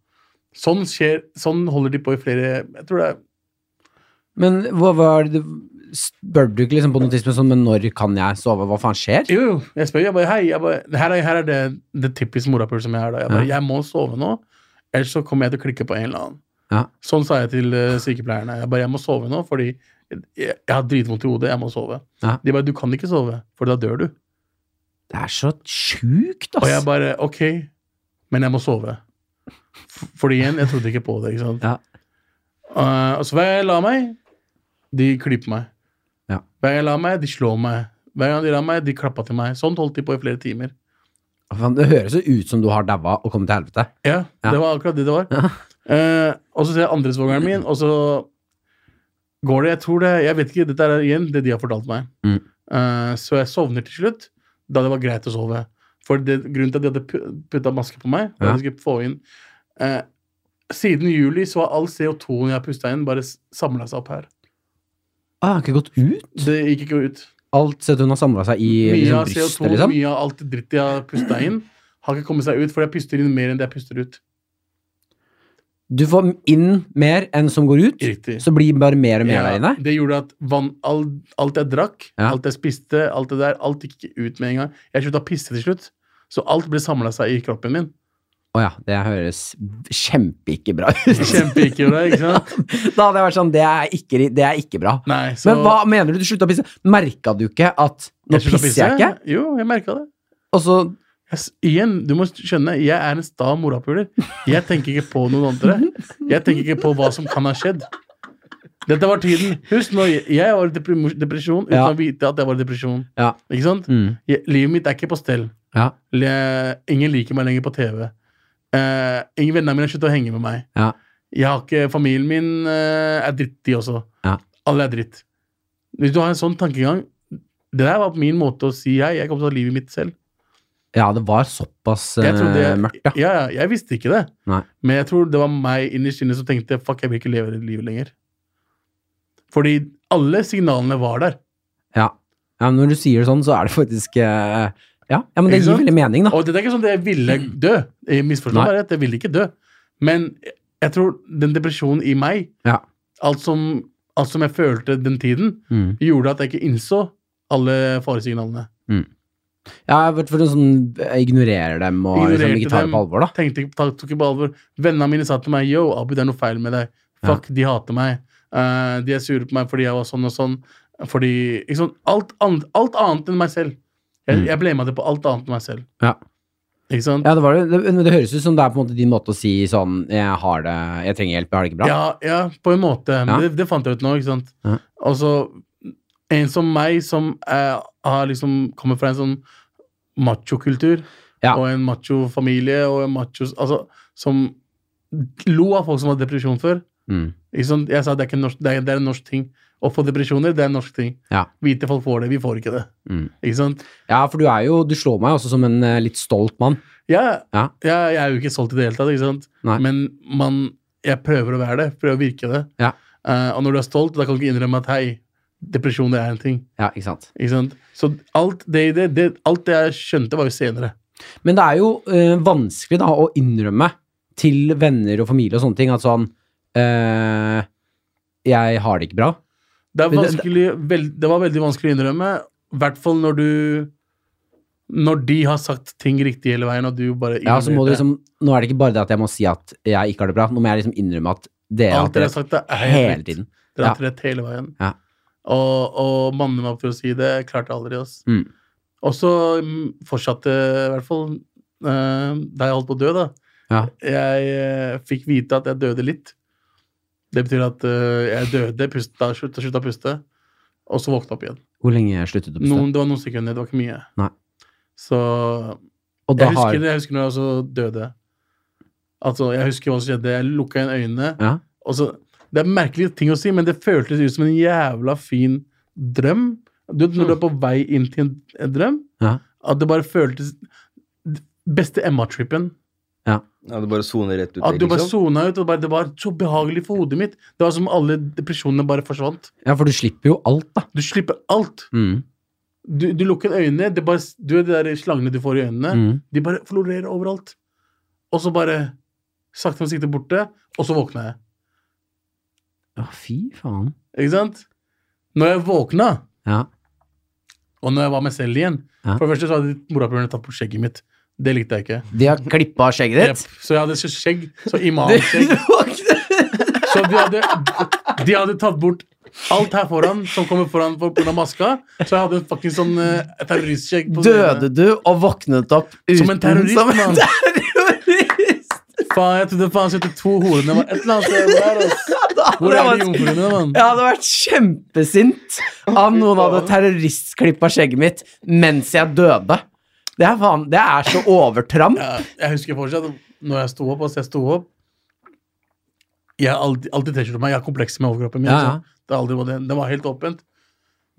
Speaker 2: Sånn skjer, sånn holder de på i flere Jeg tror det er
Speaker 1: Men hva var det du- Spør du ikke liksom på noe tidspunkt sånn Men når kan jeg sove? Hva faen skjer?
Speaker 2: Jo, jo. Jeg spør. Jeg bare Hei, jeg bare, her, er, her er det det typisk morapuler som jeg er da. Jeg bare Jeg må sove nå, ellers så kommer jeg til å klikke på en eller annen.
Speaker 1: Ja.
Speaker 2: Sånn sa jeg til eh, sykepleierne. Jeg bare Jeg må sove nå, fordi jeg, jeg har dritvondt i hodet. Jeg må sove.
Speaker 1: Ja.
Speaker 2: De bare Du kan ikke sove, for da dør du.
Speaker 1: Det er så sjukt,
Speaker 2: Og jeg
Speaker 1: ass.
Speaker 2: bare Ok, men jeg må sove. F- Fordi igjen, jeg trodde ikke på det. ikke sant?
Speaker 1: Ja.
Speaker 2: Eh, og så hver gang jeg la meg, de klyper meg.
Speaker 1: Ja.
Speaker 2: Hver gang jeg la meg, de slår meg. Hver gang de la meg, de klappa til meg. Sånn holdt de på i flere timer.
Speaker 1: Faen, Det høres jo ut som du har daua og kommet til helvete.
Speaker 2: Ja,
Speaker 1: Ja.
Speaker 2: Det var akkurat det det var.
Speaker 1: Ja.
Speaker 2: Eh, og så ser jeg andre svogeren min, og så går det Jeg tror det, jeg vet ikke, dette er igjen det de har fortalt meg.
Speaker 1: Mm.
Speaker 2: Eh, så jeg sovner til slutt, da det var greit å sove. For det, grunnen til at de hadde putta maske på meg, var at de skulle få inn eh, Siden juli så har all CO2-en jeg har pusta inn, bare samla seg opp her.
Speaker 1: Ah, jeg har ikke gått ut?
Speaker 2: Det gikk ikke ut.
Speaker 1: Alt sett hun har samla seg i
Speaker 2: Mye
Speaker 1: liksom,
Speaker 2: av
Speaker 1: brystet,
Speaker 2: CO2,
Speaker 1: liksom?
Speaker 2: mye av alt dritt jeg har pusta inn, har ikke kommet seg ut, for jeg puster inn mer enn det jeg puster ut.
Speaker 1: Du får inn mer enn som går ut,
Speaker 2: Riktig.
Speaker 1: så blir det bare mer og mer
Speaker 2: Ja,
Speaker 1: der inne.
Speaker 2: Det gjorde at vann, all, alt jeg drakk,
Speaker 1: Ja.
Speaker 2: alt jeg spiste, alt det der, alt gikk ikke ut med en gang. Jeg slutta å pisse til slutt. Så alt ble samla seg i kroppen min.
Speaker 1: Å ja, det høres kjempeikke bra ut.
Speaker 2: Kjempeikk gjorde jeg, ikke sant?
Speaker 1: da hadde jeg vært sånn, det er ikke, ri- det er ikke bra.
Speaker 2: Nei, så
Speaker 1: Men hva mener du? Du slutta å pisse? Merka du ikke at nå
Speaker 2: sluttet å
Speaker 1: pisser jeg ikke?
Speaker 2: Jo, jeg merka det.
Speaker 1: Og så
Speaker 2: Jeg, s- igjen, du må skjønne, jeg er en sta morapuler. Jeg tenker ikke på noen andre. Jeg tenker ikke på hva som kan ha skjedd. Dette var tiden. Husk nå, jeg- jeg var i deprim- depresjon uten
Speaker 1: Ja.
Speaker 2: å vite at jeg var i depresjon.
Speaker 1: Ja.
Speaker 2: Ikke sant?
Speaker 1: mm,
Speaker 2: Jeg, livet mitt er ikke på stell.
Speaker 1: Ja.
Speaker 2: Le- Ingen liker meg lenger på TV. Eh, ingen venner mine har sluttet å henge med meg.
Speaker 1: Ja.
Speaker 2: Jeg har ikke, Familien min eh, er dritt, de også.
Speaker 1: Ja.
Speaker 2: Alle er dritt. Hvis du har en sånn tankegang Det der var min måte å si hei. Jeg kom til å ha livet mitt selv.
Speaker 1: ja, det var såpass
Speaker 2: Jeg trodde
Speaker 1: eh,
Speaker 2: jeg-
Speaker 1: mørkt, ja.
Speaker 2: Ja, ja, Jeg visste ikke det.
Speaker 1: Nei.
Speaker 2: Men jeg tror det var meg innerst inne som tenkte fuck, jeg vil ikke leve det livet lenger. Fordi alle signalene var der.
Speaker 1: ja. ja. Men når du sier det sånn, så er det faktisk eh, ja. ja, men det
Speaker 2: Ikke
Speaker 1: gir
Speaker 2: sant?
Speaker 1: veldig mening, da.
Speaker 2: Og det er ikke sånn at jeg ville dø. Jeg misforstår
Speaker 1: Nei.
Speaker 2: bare at jeg ville ikke dø. Men jeg tror den depresjonen i meg,
Speaker 1: Ja.
Speaker 2: alt, som, alt som jeg følte den tiden,
Speaker 1: Mm.
Speaker 2: gjorde at jeg ikke innså alle faresignalene.
Speaker 1: Ja, jeg har vært for en sånn jeg ignorerer dem og liksom,
Speaker 2: Ignorerte
Speaker 1: ikke tar
Speaker 2: dem.
Speaker 1: det på alvor, da.
Speaker 2: Tenkte ikke, tok ikke på alvor. Vennene mine sa til meg Yo, Abu, det er noe feil med deg. Fuck, de hater meg. Eh, de er sure på meg fordi jeg var sånn og sånn. Fordi ikke sånn, alt, annet, alt annet enn meg selv. Jeg,
Speaker 1: Mm.
Speaker 2: jeg blema det på alt annet enn meg selv.
Speaker 1: Ja.
Speaker 2: Ikke sant?
Speaker 1: Ja, det, var det. Det, men det høres ut som det er på en måte din måte å si sånn Jeg har det, jeg trenger hjelp, jeg har det ikke bra.
Speaker 2: Ja, ja på en måte. Men
Speaker 1: Ja.
Speaker 2: Det, det fant jeg ut nå. ikke sant?
Speaker 1: Ja.
Speaker 2: Altså, en som meg, som er, har liksom kommer fra en sånn machokultur,
Speaker 1: Ja.
Speaker 2: og en machofamilie, og en macho Altså, som lo av folk som hadde depresjon før.
Speaker 1: Mm.
Speaker 2: Ikke sant? Jeg sa det er, ikke norsk, det, er, det er en norsk ting. Å få depresjoner, det er en norsk ting.
Speaker 1: Ja.
Speaker 2: Hvite folk får det, vi får ikke det.
Speaker 1: Mm.
Speaker 2: Ikke sant?
Speaker 1: ja, for du er jo Du slår meg også som en eh, litt stolt mann.
Speaker 2: Jeg,
Speaker 1: Ja.
Speaker 2: jeg, jeg er jo ikke solgt i det hele tatt, ikke sant?
Speaker 1: Nei.
Speaker 2: men man, jeg prøver å være det. Prøver å virke det.
Speaker 1: Ja.
Speaker 2: Eh, og når du er stolt, da kan du ikke innrømme at hei, depresjon det er en ting.
Speaker 1: Ja, ikke sant?
Speaker 2: Ikke sant? Så alt det, det, det, alt det jeg skjønte, var jo senere.
Speaker 1: Men det er jo eh, vanskelig da å innrømme til venner og familie og sånne ting at sånn eh, Jeg har det ikke bra.
Speaker 2: Det, er
Speaker 1: Men det-
Speaker 2: vanskelig, vel, det var veldig vanskelig å innrømme, i hvert fall når du Når de har sagt ting riktig hele veien, og du bare
Speaker 1: Ja, så må du
Speaker 2: innrømmer det.
Speaker 1: liksom Nå er det ikke bare det at jeg må si at jeg ikke har det bra, nå må jeg liksom innrømme at dere har hatt
Speaker 2: Alt dere
Speaker 1: det
Speaker 2: har sagt, det er helt
Speaker 1: hele
Speaker 2: rett.
Speaker 1: tiden.
Speaker 2: Dere har hatt rett hele veien.
Speaker 1: Ja.
Speaker 2: Og, og manne meg opp til å si det klarte jeg aldri. Ass.
Speaker 1: Mm.
Speaker 2: Og så mm, fortsatte i hvert fall eh, da jeg holdt på å dø, da.
Speaker 1: Ja.
Speaker 2: Jeg eh, fikk vite at jeg døde litt. Det betyr at eh, jeg døde, pusta, slutta, slutta å puste, og så våkna opp igjen.
Speaker 1: Hvor lenge jeg sluttet å puste.
Speaker 2: Noen, det var noen sekunder, det var ikke mye.
Speaker 1: Nei.
Speaker 2: Så
Speaker 1: og da
Speaker 2: jeg husker,
Speaker 1: har
Speaker 2: jeg husker når jeg også døde. Altså, jeg husker hva som skjedde. Jeg lukka igjen øynene.
Speaker 1: ja.
Speaker 2: Og så, det er merkelige ting å si, men det føltes ut som en jævla fin drøm. Du, vet når du er på vei inn til en, en drøm,
Speaker 1: Mm. Ja.
Speaker 2: at det bare føltes Beste Emma-trippen.
Speaker 3: Ja, du bare soner rett ut.
Speaker 2: At du bare
Speaker 3: liksom.
Speaker 2: sona ut. Og bare, det var så behagelig for hodet mitt. Det var som alle depresjonene bare forsvant.
Speaker 1: ja, for du slipper jo alt, da.
Speaker 2: Du slipper alt.
Speaker 1: Mm.
Speaker 2: Du, du lukker øynene. Det bare, du er de der slangene du får i øynene.
Speaker 1: Mm.
Speaker 2: De bare florerer overalt. Og så bare sakte, men sikkert borte. Og så våkna jeg.
Speaker 1: Å, fy faen.
Speaker 2: Ikke sant? Når jeg våkna,
Speaker 1: Ja.
Speaker 2: Og når jeg var meg selv igjen
Speaker 1: Ja.
Speaker 2: For det første så hadde morapulerne tatt bort skjegget mitt. Det likte jeg ikke.
Speaker 1: De har klippa skjegget ditt?
Speaker 2: Jep. Så jeg hadde så skjegg, så
Speaker 1: Du-
Speaker 2: imamskjegg.
Speaker 1: du har ikke-
Speaker 2: Så de hadde, de hadde tatt bort alt her foran som kommer foran for- pga. maska. Så jeg hadde en fucking sånn eh, terroristskjegg. på
Speaker 4: Døde
Speaker 2: siden.
Speaker 4: du og våknet opp uten
Speaker 2: Som en terrorist,
Speaker 4: som en
Speaker 2: mann.
Speaker 4: terrorist?
Speaker 2: Faen, jeg trodde faen 72 horene var et eller annet sted der. ass. Hvor
Speaker 4: Det
Speaker 2: er
Speaker 4: var-
Speaker 2: de jomfruene, mann?
Speaker 4: Jeg hadde vært kjempesint om noen hadde terroristklippa skjegget mitt mens jeg døde. Det er, faen, det er så overtramp.
Speaker 2: Ja, jeg husker fortsatt når jeg sto opp. Altså, jeg sto opp Jeg har alltid, alltid T-skjorte på meg. Jeg har komplekser med overkroppen min.
Speaker 1: Ja,
Speaker 2: altså. Det har aldri vært det. Den var helt åpent.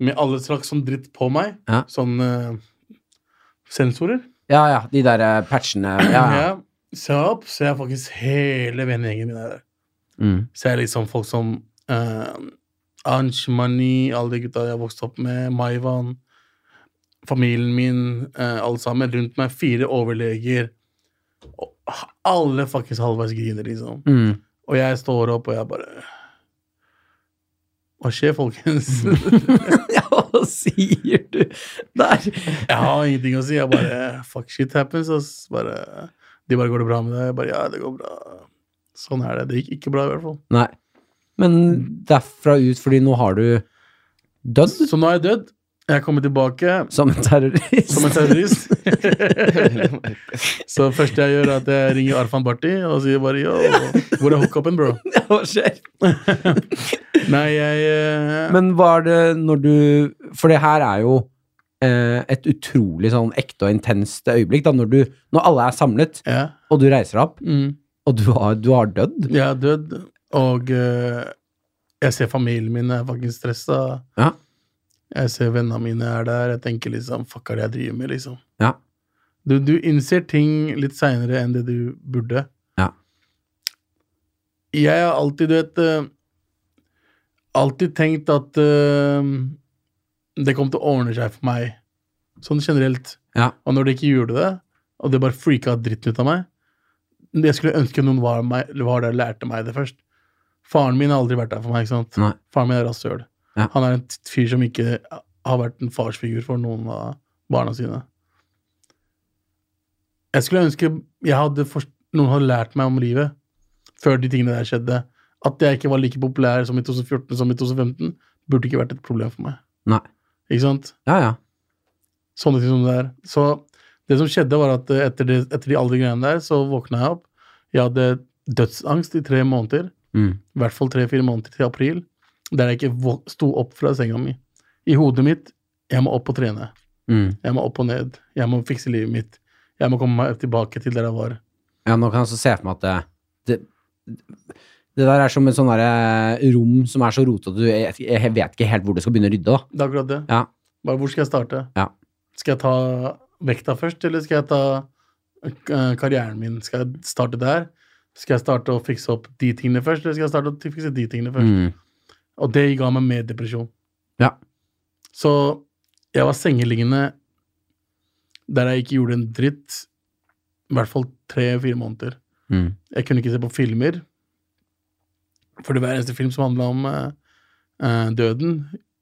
Speaker 2: Med alle slags sånn dritt på meg.
Speaker 1: Ja.
Speaker 2: Sånn eh, sensorer.
Speaker 1: Ja, ja, de der eh, patchene. Ja, ja.
Speaker 2: Ja. Se opp, så jeg faktisk hele vennegjengen min er der.
Speaker 1: Mm.
Speaker 2: Så jeg er liksom folk som uh, Ansh, Mani, alle de gutta jeg vokste opp med, Maivan, familien min, eh, alle sammen rundt meg, fire overleger. Og alle fuckings halvveis griner, liksom.
Speaker 1: Mm.
Speaker 2: Og jeg står opp, og jeg bare Hva skjer, folkens?
Speaker 4: Ja, hva sier du der?
Speaker 2: jeg har ingenting å si. Jeg bare Fuck, shit happens. ass. Bare, de bare Går det bra med deg? Jeg bare Ja, det går bra. Sånn er det. Det gikk ikke bra, i hvert fall.
Speaker 1: Nei. Men derfra ut, fordi nå har du dødd
Speaker 2: Så nå er jeg dødd. Jeg kommer tilbake.
Speaker 1: som en terrorist.
Speaker 2: Som en terrorist. så det første jeg gjør, er at jeg ringer Arfan Barti og sier bare yo, hvor er hookupen, bro?
Speaker 4: Ja, hva skjer?
Speaker 2: Nei, jeg eh,
Speaker 1: Men var det når du For det her er jo eh, et utrolig sånn ekte og intenst øyeblikk, da, når du Når alle er samlet,
Speaker 2: ja,
Speaker 1: og du reiser deg opp,
Speaker 2: mm,
Speaker 1: og du har, du har dødd.
Speaker 2: Jeg er dødd, og eh, jeg ser familien min er faktisk stressa.
Speaker 1: Ja.
Speaker 2: Jeg ser vennene mine er der. Jeg tenker liksom Fuck, hva er det jeg driver med, liksom?
Speaker 1: Ja.
Speaker 2: Du, du innser ting litt seinere enn det du burde.
Speaker 1: Ja.
Speaker 2: Jeg har alltid, du vet eh, Alltid tenkt at eh, det kom til å ordne seg for meg. Sånn generelt.
Speaker 1: Ja.
Speaker 2: Og når det ikke gjorde det, og det bare freaka dritten ut av meg Jeg skulle ønske noen var, meg, var der og lærte meg det først. Faren min har aldri vært der for meg. ikke sant?
Speaker 1: Nei.
Speaker 2: Faren min er rasshøl.
Speaker 1: Ja.
Speaker 2: Han er en t- fyr som ikke har vært en farsfigur for noen av barna sine. Jeg skulle ønske jeg hadde forst- noen hadde lært meg om livet før de tingene der skjedde. At jeg ikke var like populær som i 2014 som i 2015, burde ikke vært et problem for meg.
Speaker 1: Nei.
Speaker 2: Ikke sant?
Speaker 1: Ja, ja.
Speaker 2: Sånne ting som det er. Så det som skjedde, var at eh, etter, det, etter de alle de greiene der, så våkna jeg opp. Jeg hadde dødsangst i tre måneder
Speaker 1: Mm.
Speaker 2: i hvert fall tre-fire måneder til april, der jeg ikke vå- sto opp fra senga mi. I hodet mitt jeg må opp og trene.
Speaker 1: Mm.
Speaker 2: Jeg må opp og ned. Jeg må fikse livet mitt. Jeg må komme meg tilbake til der jeg var.
Speaker 1: Ja, nå kan jeg også se for meg at det, det, det der er som et sånn derre rom som er så rotete, du- jeg, jeg vet ikke helt hvor du skal begynne å rydde, da.
Speaker 2: Det er akkurat det.
Speaker 1: Ja.
Speaker 2: Bare hvor skal jeg starte?
Speaker 1: Ja.
Speaker 2: Skal jeg ta vekta først, eller skal jeg ta eh, karrieren min? Skal jeg starte der? Skal jeg starte å fikse opp de tingene først, eller skal jeg starte å fikse de tingene først?
Speaker 1: Mm.
Speaker 2: Og det ga meg mer depresjon.
Speaker 1: Ja.
Speaker 2: Så jeg var sengeliggende der jeg ikke gjorde en dritt, i hvert fall tre-fire måneder.
Speaker 1: Mm.
Speaker 2: Jeg kunne ikke se på filmer, for hver eneste film som handla om eh, eh, døden,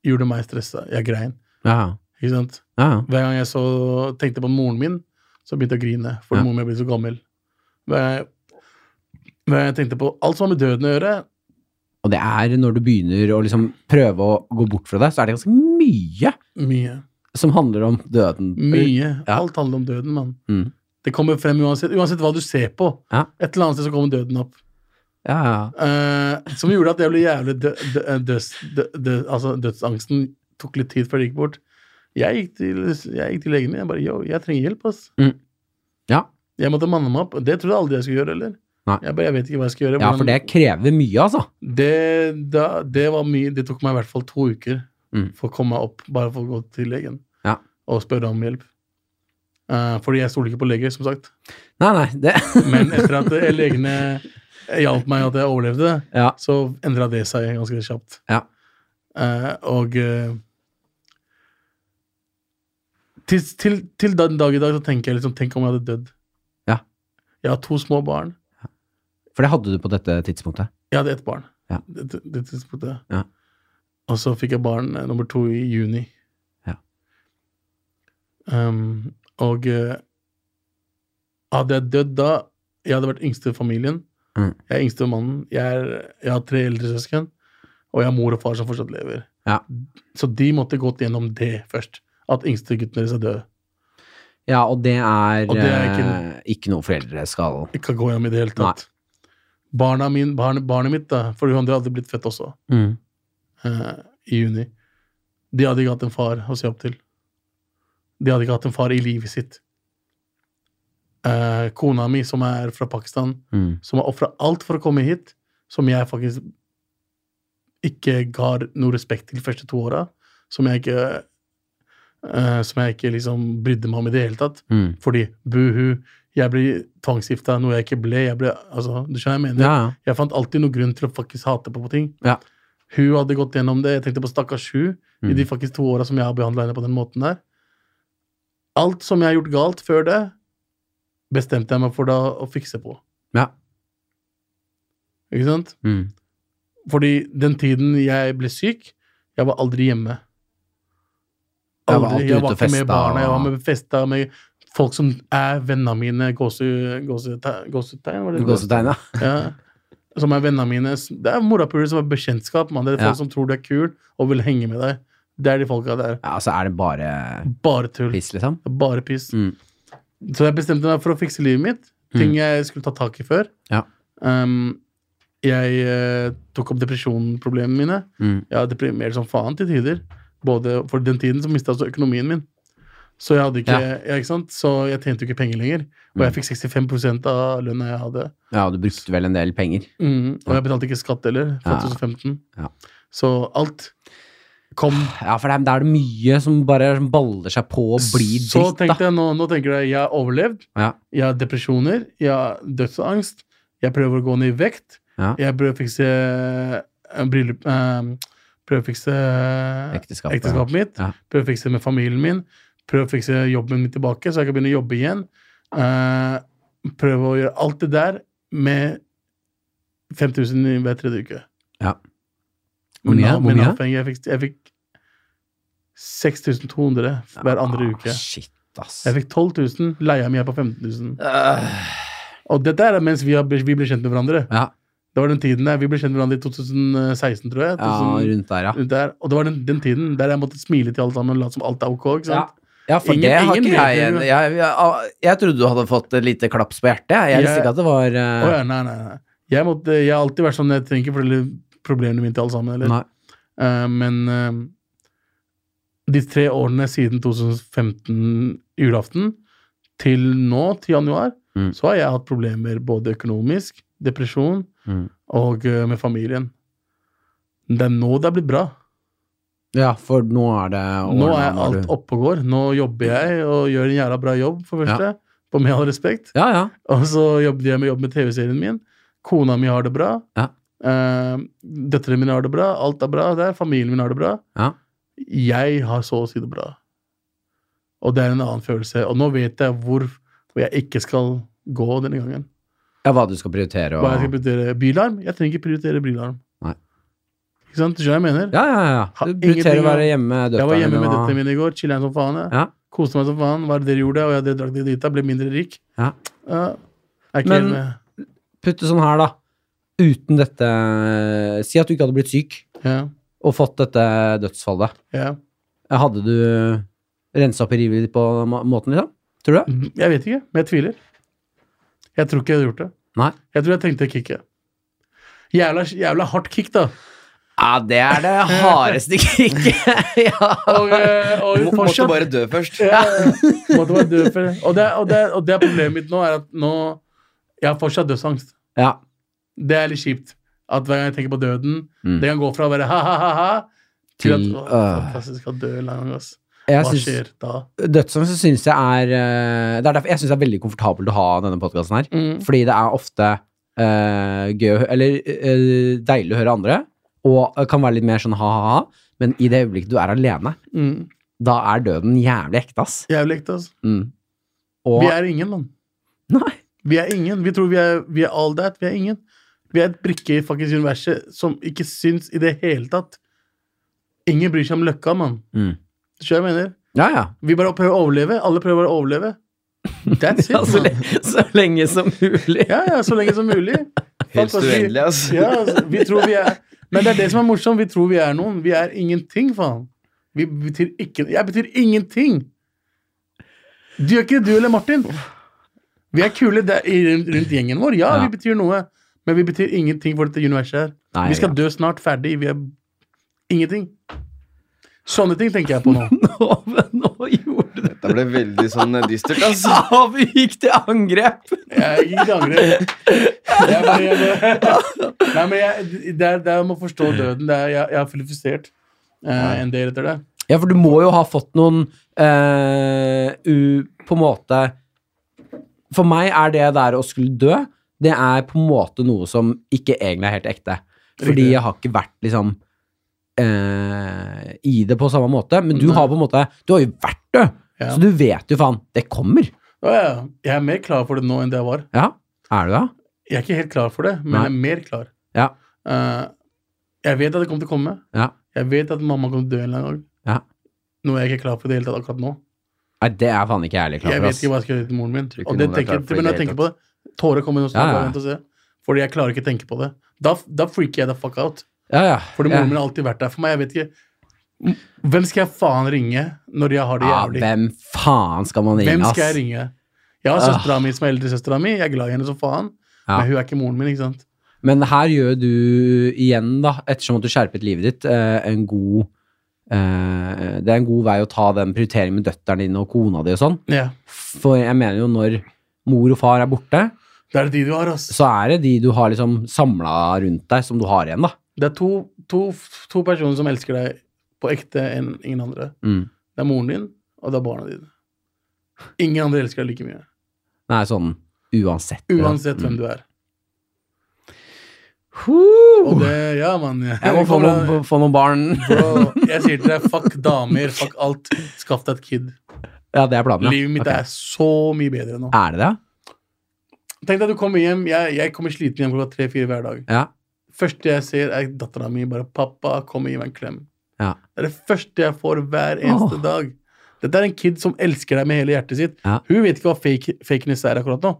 Speaker 2: gjorde meg stressa. Jeg grein.
Speaker 1: Ja,
Speaker 2: ikke sant?
Speaker 1: ja. ja.
Speaker 2: Hver gang jeg så, tenkte på moren min, så begynte jeg å grine, for
Speaker 1: Ja.
Speaker 2: moren min ble så gammel. Hver gang, jeg, hver gang jeg tenkte på alt som har med døden å gjøre,
Speaker 1: Og det er når du begynner å liksom prøve å gå bort fra det, så er det ganske mye.
Speaker 2: mye.
Speaker 1: som handler om døden.
Speaker 2: Mye.
Speaker 1: Ja.
Speaker 2: Alt handler om døden, mann.
Speaker 1: Mm.
Speaker 2: Det kommer frem uansett, uansett hva du ser på.
Speaker 1: Ja.
Speaker 2: Et eller annet sted så kommer døden opp.
Speaker 1: Ja, ja.
Speaker 2: Eh, som gjorde at jeg ble jævlig dø, dø, døds, dø, dø, altså Dødsangsten tok litt tid før det gikk bort. Jeg gikk til, jeg gikk til legen min. Jeg bare Yo, jeg trenger hjelp, ass.
Speaker 1: Mm. Ja.
Speaker 2: Jeg måtte manne meg opp. Det trodde jeg aldri jeg skulle gjøre heller.
Speaker 1: Nei.
Speaker 2: Jeg bare, jeg vet ikke hva jeg skal gjøre.
Speaker 1: ja, for
Speaker 2: hvordan-
Speaker 1: det krever mye, altså.
Speaker 2: det, da, det var mye Det tok meg i hvert fall to uker
Speaker 1: Mm.
Speaker 2: for å komme meg opp, bare for å gå til legen
Speaker 1: Ja.
Speaker 2: og spørre om hjelp. Eh, fordi jeg stoler ikke på leger, som sagt.
Speaker 1: Nei, nei, det
Speaker 2: Men etter at eh, legene hjalp meg at jeg overlevde det,
Speaker 1: Ja.
Speaker 2: så endra det seg ganske kjapt.
Speaker 1: Ja.
Speaker 2: Eh, og eh, til, til, til den dag i dag så tenker jeg liksom Tenk om jeg hadde dødd.
Speaker 1: Ja.
Speaker 2: Jeg har to små barn.
Speaker 1: For det hadde du på dette tidspunktet.
Speaker 2: Jeg hadde ett barn.
Speaker 1: Ja.
Speaker 2: Det, det tidspunktet.
Speaker 1: Ja.
Speaker 2: Og så fikk jeg barn eh, nummer to i juni.
Speaker 1: Ja.
Speaker 2: Um, og eh, hadde jeg dødd da Jeg hadde vært yngste i familien.
Speaker 1: Mm.
Speaker 2: Jeg er yngste mannen. Jeg, er, jeg har tre eldre søsken, og jeg har mor og far som fortsatt lever.
Speaker 1: Ja.
Speaker 2: Så de måtte gått gjennom det først. At yngste gutten deres er død.
Speaker 1: Ja, og det er,
Speaker 2: Og det er ikke-
Speaker 1: eh, ikke noe foreldre skal
Speaker 2: Ikke gå hjem i det hele tatt. Barna min, barn, barnet mitt, da, for han hadde blitt født også.
Speaker 1: Mm,
Speaker 2: eh, i juni. De hadde ikke hatt en far å se opp til. De hadde ikke hatt en far i livet sitt. Eh, kona mi, som er fra Pakistan,
Speaker 1: Mm.
Speaker 2: som har ofra alt for å komme hit, som jeg faktisk ikke ga noe respekt til de første to åra, som jeg ikke eh, Som jeg ikke liksom brydde meg om i det hele tatt.
Speaker 1: Mm.
Speaker 2: Fordi buhu, jeg ble tvangsgifta, noe jeg ikke ble. Jeg ble altså, du skjønner hva jeg mener?
Speaker 1: Ja, ja.
Speaker 2: Jeg fant alltid noen grunn til å faktisk hate på, på ting.
Speaker 1: Ja.
Speaker 2: Hun hadde gått gjennom det. Jeg tenkte på stakkars hun i
Speaker 1: Mm.
Speaker 2: de faktisk to åra som jeg har behandla henne på den måten der. Alt som jeg har gjort galt før det, bestemte jeg meg for da å fikse på.
Speaker 1: Ja.
Speaker 2: Ikke sant?
Speaker 1: Mm.
Speaker 2: Fordi den tiden jeg ble syk, jeg var aldri hjemme.
Speaker 1: Jeg var
Speaker 2: Aldri.
Speaker 1: alltid
Speaker 2: Jeg
Speaker 1: ute og
Speaker 2: var ikke med
Speaker 1: festa
Speaker 2: barna, jeg var
Speaker 1: og-
Speaker 2: med festa med folk som er vennene mine, gåse- gåsete- gåsetegn, var det det het?
Speaker 1: Gåsetegn, ja.
Speaker 2: Ja. Som er vennene mine. Det er morapuler som er bekjentskap. Man. Det er folk
Speaker 1: Ja.
Speaker 2: som tror du er kul og vil henge med deg. Det er de folka der.
Speaker 1: ja. Så er det bare
Speaker 2: Bare tull.
Speaker 1: piss, liksom.
Speaker 2: Bare piss.
Speaker 1: Mm.
Speaker 2: Så jeg bestemte meg for å fikse livet mitt. Ting
Speaker 1: Mm.
Speaker 2: jeg skulle ta tak i før.
Speaker 1: Ja.
Speaker 2: Um, jeg eh, tok opp depresjonsproblemene mine.
Speaker 1: Mm.
Speaker 2: Jeg var deprimert som faen til tider. Både For den tiden så mista jeg også økonomien min. Så jeg hadde ikke, ja. ikke sant? Så jeg tjente jo ikke penger lenger. Og
Speaker 1: Mm.
Speaker 2: jeg fikk 65 av lønna jeg hadde.
Speaker 1: Ja, og du brukte vel en del penger.
Speaker 2: Mm, og jeg betalte ikke skatt heller, fra
Speaker 1: Mhm. Ja.
Speaker 2: 2015.
Speaker 1: Ja.
Speaker 2: Så alt kom
Speaker 1: Ja, for det er, det er mye som bare som baller seg på og blir
Speaker 2: Så
Speaker 1: dritt, da.
Speaker 2: tenkte jeg nå, nå tenker jeg jeg har overlevd.
Speaker 1: Ja.
Speaker 2: Jeg har depresjoner, jeg har dødsangst. Jeg prøver å gå ned i vekt.
Speaker 1: Ja.
Speaker 2: Jeg prøver å fikse eh, bryllup eh, Prøver å fikse
Speaker 1: Ekteskapet.
Speaker 2: ekteskapet mitt.
Speaker 1: Ja.
Speaker 2: Prøver å fikse med familien min. Prøver å fikse jobben min tilbake, så jeg kan begynne å jobbe igjen. Eh, prøve å gjøre alt det der med 5000 i hver tredje uke.
Speaker 1: Ja. Hvor
Speaker 2: Hvor
Speaker 1: mye?
Speaker 2: mye?
Speaker 1: Hvor mye?
Speaker 2: Jeg fikk, jeg fikk 6200 hver andre uke.
Speaker 1: Ah, Shit, ass.
Speaker 2: Jeg fikk 12 000, leia mi er på 15 000.
Speaker 1: Øh,
Speaker 2: Og dette er mens vi, har, vi ble kjent med hverandre.
Speaker 1: ja.
Speaker 2: Det var den tiden der, Vi ble kjent med hverandre i 2016, tror jeg.
Speaker 1: ja,
Speaker 2: 2000
Speaker 1: rundt der, ja.
Speaker 2: rundt der. Og det var den, den tiden der jeg måtte smile til alle sammen og late som alt er ok. ikke sant?
Speaker 4: Ja, for
Speaker 2: Ingen-
Speaker 4: det har
Speaker 2: ingen
Speaker 4: ikke
Speaker 2: vet
Speaker 4: jeg
Speaker 2: det.
Speaker 4: jeg, jeg,
Speaker 1: ah,
Speaker 4: jeg, trodde du hadde fått et lite klaps på hjertet. Jeg, jeg visste
Speaker 2: Jeg-
Speaker 4: ikke at det var eh,
Speaker 2: Å ja, nei, nei, nei. Jeg, måtte, jeg har alltid vært sånn jeg trenger ikke fortelle problemene mine til alle sammen. Eller?
Speaker 1: Nei.
Speaker 2: Eh, men eh, de tre årene siden 2015 julaften til nå, til januar,
Speaker 1: Mm.
Speaker 2: så har jeg hatt problemer både økonomisk, depresjon
Speaker 1: Mm.
Speaker 2: og eh, med familien. Det er nå det er blitt bra.
Speaker 1: Ja, for nå er det
Speaker 2: Nå
Speaker 1: årene
Speaker 2: er
Speaker 1: når
Speaker 2: alt
Speaker 1: du-
Speaker 2: oppe og går. Nå jobber jeg og gjør en jævla bra jobb, for det første. På med all respekt.
Speaker 1: Ja, ja.
Speaker 2: Og så jobber jeg med jobb med TV-serien min. Kona mi har det bra.
Speaker 1: Ja.
Speaker 2: Eh, Døtrene mine har det bra. Alt er bra der. Familien min har det bra.
Speaker 1: Ja.
Speaker 2: Jeg har så å si det bra. Og det er en annen følelse. Og nå vet jeg hvor, hvor jeg ikke skal gå denne gangen.
Speaker 1: ja, hva du skal prioritere og
Speaker 2: Hva jeg skal prioritere? Bilarm? Jeg trenger ikke prioritere bilarm.
Speaker 1: Nei.
Speaker 2: Ikke sant? Du skjønner hva jeg mener?
Speaker 1: Ja, ja,
Speaker 2: Ha-
Speaker 1: ja. Du prioriterer å
Speaker 2: ingenting å-
Speaker 1: være hjemme med
Speaker 2: Jeg var
Speaker 1: døtrene
Speaker 2: hjemme med
Speaker 1: og-
Speaker 2: døtrene mine i går, chilla som faen. jeg.
Speaker 1: Ja.
Speaker 2: Koste meg som faen. Hva er det dere gjorde? Og jeg dere drakk det dit, ble mindre rik.
Speaker 1: Ja.
Speaker 2: Jeg er ikke
Speaker 1: Men-
Speaker 2: enig med.
Speaker 1: Putte sånn her, da. Uten dette Si at du ikke hadde blitt syk
Speaker 2: Ja,
Speaker 1: og fått dette dødsfallet.
Speaker 2: ja.
Speaker 1: Hadde du rense opp i rivet ditt på den ma- måten, liksom? Tror du det?
Speaker 2: Jeg vet ikke, men jeg tviler. Jeg tror ikke jeg hadde gjort det.
Speaker 1: Nei.
Speaker 2: Jeg tror jeg tenkte kicket. Jævla, jævla hardt kick, da.
Speaker 4: Ja, det er det hardeste kicket. ja.
Speaker 2: Og, eh, og
Speaker 3: Må, måtte
Speaker 2: fortsatt-
Speaker 3: bare dø først.
Speaker 2: Ja, måtte bare dø for det. Og det, er- og, det, er- og det er problemet mitt nå, er at nå Jeg har fortsatt dødsangst.
Speaker 1: Ja.
Speaker 2: Det er litt kjipt. At hver gang jeg tenker på døden
Speaker 1: Mm.
Speaker 2: Det kan gå fra å være ha-ha-ha til at
Speaker 1: Til,
Speaker 2: å,
Speaker 1: øh.
Speaker 2: fantastisk, skal dø en gang, ass.
Speaker 1: Jeg
Speaker 2: Hva
Speaker 1: syns-
Speaker 2: skjer da?
Speaker 1: Dødsangst så syns jeg er eh, Det er derfor jeg syns det er veldig komfortabelt å ha denne podkasten her.
Speaker 2: Mm.
Speaker 1: Fordi det er ofte eh, gøy å hø- Eller eh, deilig å høre andre, og eh, kan være litt mer sånn ha-ha-ha. Men i det øyeblikket du er alene,
Speaker 2: Mm.
Speaker 1: da er døden jævlig ekte, ass.
Speaker 2: Jævlig ekte, ass.
Speaker 1: Mm. Og
Speaker 2: Vi er ingen, mann.
Speaker 1: Nei.
Speaker 2: Vi er ingen. Vi tror vi er, vi er all that. Vi er ingen. Vi er et brikke i fuckings universet som ikke syns i det hele tatt. Ingen bryr seg om løkka, mann.
Speaker 1: Mm.
Speaker 2: Skjønner du hva jeg mener?
Speaker 1: Ja, ja.
Speaker 2: Vi bare prøver å overleve. Alle prøver å overleve. That's it.
Speaker 4: Ja, så,
Speaker 2: mann.
Speaker 4: le- så lenge som mulig.
Speaker 2: Ja, ja, så lenge som mulig.
Speaker 3: Helst
Speaker 2: Fantastisk.
Speaker 3: uendelig, altså.
Speaker 2: Ja, altså, vi tror vi er Men det er det som er morsomt. Vi tror vi er noen. Vi er ingenting, faen. Vi betyr ikke Jeg betyr ingenting! Du gjør ikke det, du eller Martin. Vi er kule der, i- rundt, rundt gjengen vår. Ja,
Speaker 1: Ja.
Speaker 2: vi betyr noe. Men vi betyr ingenting for dette universet her.
Speaker 1: Nei,
Speaker 2: Vi skal
Speaker 1: ja.
Speaker 2: dø snart. Ferdig. Vi er ingenting. Sånne ting tenker jeg på nå.
Speaker 4: Nå, men nå gjorde det
Speaker 3: Det ble veldig sånn eh, dystert, altså.
Speaker 4: Ja, vi gikk til angrep!
Speaker 2: Jeg gikk til angrep. Jeg bare, jeg bare, nei, men jeg, det, er, det er om å forstå døden. Det er, jeg, jeg har filifisert eh, en del etter det.
Speaker 1: ja, for du må jo ha fått noen eh, u, På en måte For meg er det der å skulle dø, det er på en måte noe som ikke egentlig er helt ekte. Fordi
Speaker 2: Riktig.
Speaker 1: jeg har ikke vært liksom eh, i det på samme måte. Men du
Speaker 2: Nei.
Speaker 1: har på en måte Du har jo vært død,
Speaker 2: Mm. Ja.
Speaker 1: så du vet jo faen. Det kommer.
Speaker 2: Å, ja. Jeg er mer klar for det nå enn det jeg var.
Speaker 1: Ja, er du det?
Speaker 2: Jeg er ikke helt klar for det, men
Speaker 1: Nei.
Speaker 2: jeg er mer klar.
Speaker 1: Ja.
Speaker 2: Eh, jeg vet at det kommer til å komme.
Speaker 1: Ja.
Speaker 2: Jeg vet at mamma kommer til å dø en eller annen gang.
Speaker 1: Ja.
Speaker 2: Noe jeg ikke er klar for i det hele tatt akkurat nå.
Speaker 1: Nei, det er faen ikke jeg heller klar
Speaker 2: jeg
Speaker 1: for.
Speaker 2: vet
Speaker 1: ass.
Speaker 2: ikke hva jeg skal gjøre til moren min.
Speaker 3: Tror ikke
Speaker 2: Og det
Speaker 3: noen er
Speaker 2: tenker,
Speaker 3: klar for det
Speaker 2: men
Speaker 3: i
Speaker 2: jeg
Speaker 3: det
Speaker 2: tenker på
Speaker 3: hele
Speaker 2: det. Tårer kommer nå snart.
Speaker 1: Ja, ja.
Speaker 2: bare vent og se. Fordi jeg klarer ikke å tenke på det. Da, da freaker jeg the fuck out.
Speaker 1: Ja, ja.
Speaker 2: Fordi
Speaker 1: Ja.
Speaker 2: moren min har alltid vært der for meg. Jeg vet ikke Hvem skal jeg faen ringe når jeg har det
Speaker 1: Ja,
Speaker 2: jævlig?
Speaker 1: hvem faen skal man ringe,
Speaker 2: Hvem
Speaker 1: ass?
Speaker 2: skal jeg ringe? Jeg har
Speaker 1: Ah.
Speaker 2: søstera mi som er eldresøstera mi. Jeg er glad i henne som faen.
Speaker 1: Ja.
Speaker 2: Men hun er ikke moren min, ikke sant?
Speaker 1: Men her gjør du igjen, da, ettersom at du skjerpet livet ditt, eh, en god eh, Det er en god vei å ta den prioriteringen med døtteren din og kona di og sånn.
Speaker 2: Ja.
Speaker 1: For jeg mener jo når mor og far er borte,
Speaker 2: Det er de du har, ass.
Speaker 1: så er det de du har liksom samla rundt deg, som du har igjen, da.
Speaker 2: Det er to, to, to personer som elsker deg på ekte enn ingen andre.
Speaker 1: Mm.
Speaker 2: Det er moren din, og det er barna dine. Ingen andre elsker deg like mye.
Speaker 1: Nei, sånn uansett. Mm.
Speaker 2: Uansett hvem du er. Og
Speaker 1: Huh.
Speaker 2: det, ja, mann. Jeg,
Speaker 4: Jeg må få noen, få noen barn.
Speaker 2: Bro, jeg sier til deg, fuck damer, fuck alt. Skaff deg et kid.
Speaker 1: Ja, det er planen, ja.
Speaker 2: Livet mitt
Speaker 1: Ok.
Speaker 2: er så mye bedre nå.
Speaker 1: Er det det?
Speaker 2: Tenk deg, du kommer hjem, jeg, jeg kommer sliten hjem klokka tre-fire hver dag.
Speaker 1: Ja.
Speaker 2: Første jeg ser, er dattera mi bare 'Pappa, kom og gi meg en klem'.
Speaker 1: Ja.
Speaker 2: Det er det første jeg får hver eneste
Speaker 1: Åh.
Speaker 2: dag. Dette er en kid som elsker deg med hele hjertet sitt.
Speaker 1: Ja.
Speaker 2: Hun vet ikke hva fake, fakeness er akkurat nå.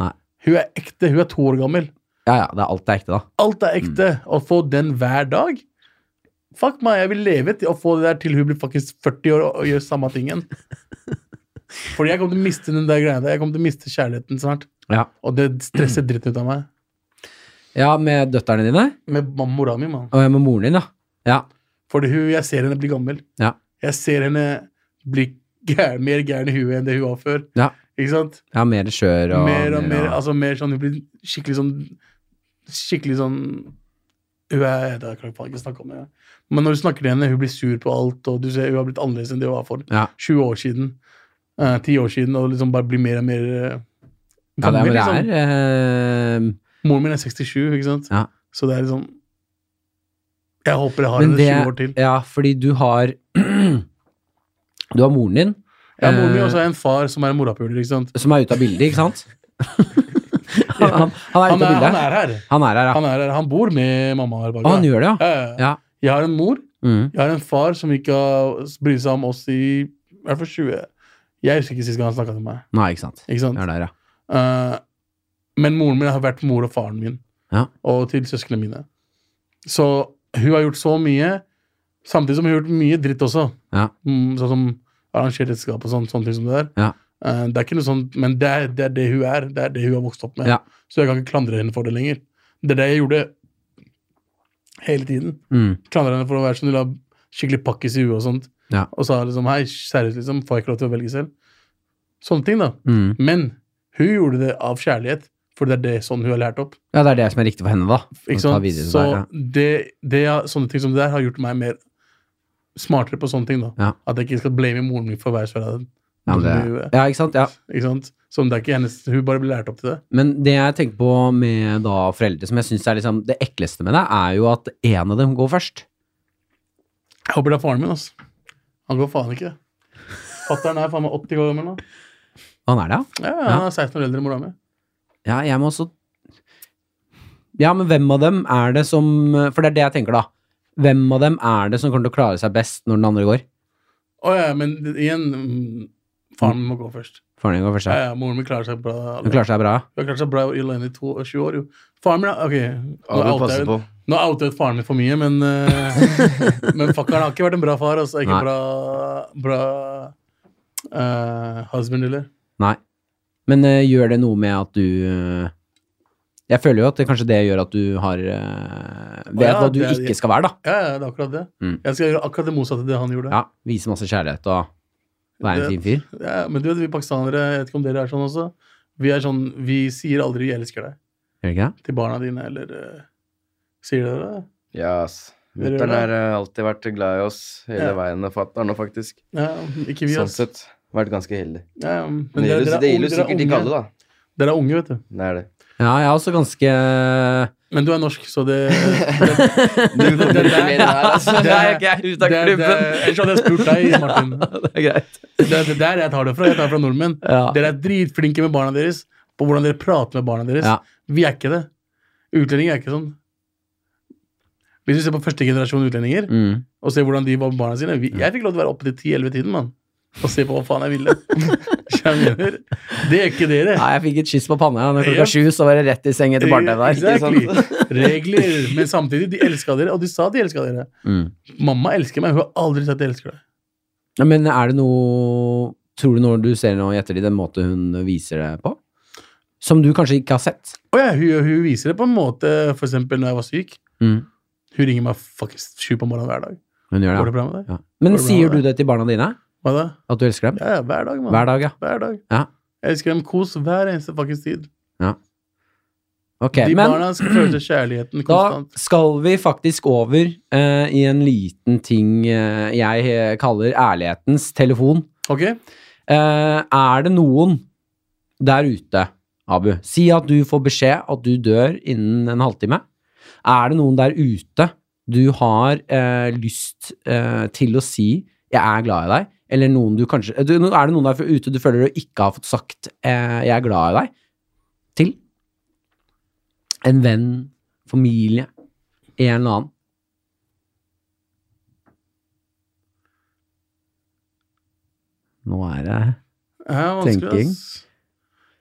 Speaker 1: Nei.
Speaker 2: Hun er ekte. Hun er to år gammel.
Speaker 1: Ja, ja. Det er alt det er ekte, da.
Speaker 2: Alt er ekte.
Speaker 1: Mm.
Speaker 2: Å få den hver dag Fuck meg, jeg vil leve til å få det der til hun blir faktisk 40 år og, og gjør samme tingen. Fordi jeg kommer til å miste den der greia der. Jeg kommer til å miste kjærligheten snart.
Speaker 1: Ja.
Speaker 2: Og det stresser dritten ut av meg.
Speaker 1: Ja, med døtrene dine?
Speaker 2: Med mam- mora mi, mann.
Speaker 1: Og ja, med moren din, ja. Ja.
Speaker 2: Fordi hun, jeg ser henne bli gammel.
Speaker 1: Ja.
Speaker 2: Jeg ser henne bli gær, mer gæren i huet enn det hun var før.
Speaker 1: Ja.
Speaker 2: Ikke sant?
Speaker 1: ja mer skjør og
Speaker 2: Mer og mer,
Speaker 1: ja.
Speaker 2: altså mer sånn, hun blir skikkelig sånn Skikkelig sånn Hun er, det kan jeg faen ikke snakke om det. Men når du snakker til henne, hun blir sur på alt, og du ser hun har blitt annerledes enn det hun var for
Speaker 1: Ja.
Speaker 2: 20 år siden. eh, 10 år siden, og liksom bare blir mer og mer eh,
Speaker 1: Ja, det er,
Speaker 2: gammel,
Speaker 1: men det
Speaker 2: liksom.
Speaker 1: er eh,
Speaker 2: Moren min er 67, ikke sant?
Speaker 1: Ja.
Speaker 2: Så det er liksom Jeg håper jeg har
Speaker 1: Men
Speaker 2: henne
Speaker 1: det-
Speaker 2: 20 år til.
Speaker 1: Ja, fordi du har Du har moren din,
Speaker 2: Ja, moren min
Speaker 1: eh,
Speaker 2: også har en far som er en morapuler, ikke sant?
Speaker 1: som er ute av bildet, ikke sant? han, han, han er
Speaker 2: Han
Speaker 1: ute av
Speaker 2: er, han
Speaker 1: bildet.
Speaker 2: er her.
Speaker 1: Han er her, ja.
Speaker 2: Han er her. Han bor med mamma her bak.
Speaker 1: Å, han gjør det, ja.
Speaker 2: Ja, ja, ja.
Speaker 1: Ja.
Speaker 2: Jeg har en mor.
Speaker 1: Mm.
Speaker 2: Jeg har en far som ikke har brydd seg om oss i i hvert fall 20 Jeg husker ikke sist gang han snakka til meg.
Speaker 1: Nei, ikke sant.
Speaker 2: Ikke sant?
Speaker 1: Han er der, ja.
Speaker 2: Eh, men moren min har vært mor og faren min,
Speaker 1: Ja.
Speaker 2: og til søsknene mine. Så hun har gjort så mye, samtidig som hun har gjort mye dritt også.
Speaker 1: Ja.
Speaker 2: Mm, sånn som arrangert ekteskap og sånn, sånne ting som det der.
Speaker 1: Ja.
Speaker 2: Eh, det er ikke noe sånn, men det er, det er det hun er. Det er det hun har vokst opp med.
Speaker 1: Ja.
Speaker 2: Så jeg kan ikke klandre henne for det lenger. Det er det jeg gjorde hele tiden.
Speaker 1: Mm.
Speaker 2: Klandra henne for å være sånn, la skikkelig pakkis i huet og sånt.
Speaker 1: Ja.
Speaker 2: Og sa liksom hei, seriøst, liksom, får jeg ikke lov til å velge selv? Sånne ting, da.
Speaker 1: Mm.
Speaker 2: Men hun gjorde det av kjærlighet, for det er det sånn hun har lært opp.
Speaker 1: Ja, det er det som er riktig for henne, da. Å
Speaker 2: Ikke
Speaker 1: ta
Speaker 2: sant?
Speaker 1: videre
Speaker 2: Så
Speaker 1: der, ja.
Speaker 2: det, det, er- sånne ting som det der har gjort meg mer smartere på sånne ting. da.
Speaker 1: Ja.
Speaker 2: At jeg ikke skal blame moren min for hver sverre.
Speaker 1: Ja, men det, ja, ikke sant? Ja.
Speaker 2: Ikke sant? Som det er ikke hennes, Hun bare ble lært opp til det.
Speaker 1: Men det jeg tenker på med da foreldre, som jeg syns er liksom det ekleste med det, er jo at en av dem går først.
Speaker 2: Jeg håper det er faren min. ass. Han går faen ikke. Fatter'n er faen meg 80 år gammel nå.
Speaker 1: Han er det, ja?
Speaker 2: Ja, ja, Han er 16 år eldre enn mora mi.
Speaker 1: Ja, jeg må også Ja, men hvem av dem er det som For det er det jeg tenker, da. Hvem av dem er det som kommer til å klare seg best når den andre går?
Speaker 2: Å ja, men det- igjen mm, Faren min må gå først.
Speaker 1: Faren din går først,
Speaker 2: Ja,
Speaker 1: ja.
Speaker 2: ja, Moren min klarer seg bra.
Speaker 1: Hun klarer seg bra. ja.
Speaker 2: Hun har klart seg bra i landet i to- 20 år, jo. Faren min er- Ok, nå
Speaker 3: Abu
Speaker 2: outer jeg
Speaker 3: passer
Speaker 2: den.
Speaker 3: på.
Speaker 2: Nå outet jeg faren min for mye, men uh, Men fuckeren har ikke vært en bra far. Altså. Ikke
Speaker 1: Nei.
Speaker 2: bra, bra eh, husband heller.
Speaker 1: Nei. Men eh, gjør det noe med at du eh, Jeg føler jo at det, kanskje det gjør at du har eh, Vet
Speaker 2: ja,
Speaker 1: hva du
Speaker 2: det er-
Speaker 1: ikke skal være, da.
Speaker 2: Ja, ja, det er akkurat det.
Speaker 1: Mm.
Speaker 2: Jeg skal gjøre akkurat det motsatte av det han gjorde.
Speaker 1: Ja, Vise masse kjærlighet og være en
Speaker 2: Det-
Speaker 1: fin fyr.
Speaker 2: Ja, men du vet, vi pakistanere, jeg vet ikke om dere er sånn også, vi er sånn, vi sier aldri 'jeg elsker deg'
Speaker 1: Gjør det ikke det?
Speaker 2: til barna dine, eller eh, Sier dere det?
Speaker 3: Ja, ass.
Speaker 2: Dere gjør
Speaker 3: Mutter'n
Speaker 2: det?
Speaker 3: har eh, alltid vært glad i oss
Speaker 2: Ja.
Speaker 3: hele veien, og fatter'n òg, faktisk.
Speaker 2: Ja, ikke vi,
Speaker 3: Sånn
Speaker 2: ass.
Speaker 3: sett. Vært ganske heldig.
Speaker 2: Ja, ja, men
Speaker 3: Men det
Speaker 2: dere,
Speaker 3: gjelder,
Speaker 2: dere, er unge,
Speaker 3: det gjelder
Speaker 2: dere,
Speaker 3: sikkert ikke
Speaker 2: er unge,
Speaker 3: alle, da.
Speaker 2: dere er unge, vet du.
Speaker 3: Det er det.
Speaker 1: Ja, jeg er også ganske
Speaker 2: Men du er norsk, så det, det,
Speaker 3: Du kommer
Speaker 2: det-
Speaker 3: ikke mer enn her, altså.
Speaker 2: det er
Speaker 4: jeg er
Speaker 2: det, det, Ellers hadde jeg spurt deg, Martin.
Speaker 4: Det er greit.
Speaker 2: Det er det der jeg tar det fra. Jeg tar det fra nordmenn.
Speaker 4: Ja.
Speaker 2: Dere er dritflinke med barna deres på hvordan dere prater med barna deres.
Speaker 1: Ja.
Speaker 2: Vi er ikke det. Utlendinger er ikke sånn. Hvis du ser på første generasjon utlendinger
Speaker 1: mm.
Speaker 2: og ser hvordan de var med barna sine vi, Jeg fikk lov til å være oppe til 10-11-tiden, mann. Og se på hva faen jeg ville. Jeg mener, det gjør ikke dere.
Speaker 1: Nei, jeg fikk et kyss på panna. Når
Speaker 2: Ja.
Speaker 1: klokka sju så var det rett i seng etter barne-TV der.
Speaker 2: Exactly. Regler. Men samtidig, de elska dere, og de sa de elska dere.
Speaker 1: Mm.
Speaker 2: Mamma elsker meg, hun har aldri sagt jeg elsker deg.
Speaker 1: Ja, men er det noe Tror du når du ser noe i ettertid, den måte hun viser det på? Som du kanskje ikke har sett?
Speaker 2: Og ja, hun, hun viser det på en måte, for eksempel når jeg var syk.
Speaker 1: Mm.
Speaker 2: Hun ringer meg faktisk sju på morgenen hver dag.
Speaker 1: Hun gjør det,
Speaker 2: Går det bra med deg?
Speaker 1: ja. ja. Men
Speaker 2: Går det bra
Speaker 1: sier
Speaker 2: med
Speaker 1: du det til barna dine?
Speaker 2: Hva da?
Speaker 1: At du elsker dem?
Speaker 2: Ja, ja, hver dag, mann.
Speaker 1: Hver dag, ja.
Speaker 2: Hver dag.
Speaker 1: Ja.
Speaker 2: Jeg elsker dem kos hver eneste faktisk tid.
Speaker 1: Ok,
Speaker 2: De
Speaker 1: men
Speaker 2: barna skal føle kjærligheten
Speaker 1: da
Speaker 2: konstant.
Speaker 1: skal vi faktisk over eh, i en liten ting eh, jeg eh, kaller ærlighetens telefon.
Speaker 2: Ok?
Speaker 1: Eh, er det noen der ute, Abu Si at du får beskjed at du dør innen en halvtime. Er det noen der ute du har eh, lyst eh, til å si 'jeg er glad i deg', eller noen du kanskje eh, du, Er det noen der ute du føler du ikke har fått sagt eh, 'jeg er glad i deg' til? En venn, familie, en eller annen. Nå er det
Speaker 2: Ja, vanskelig,
Speaker 1: Tenking.
Speaker 2: ass.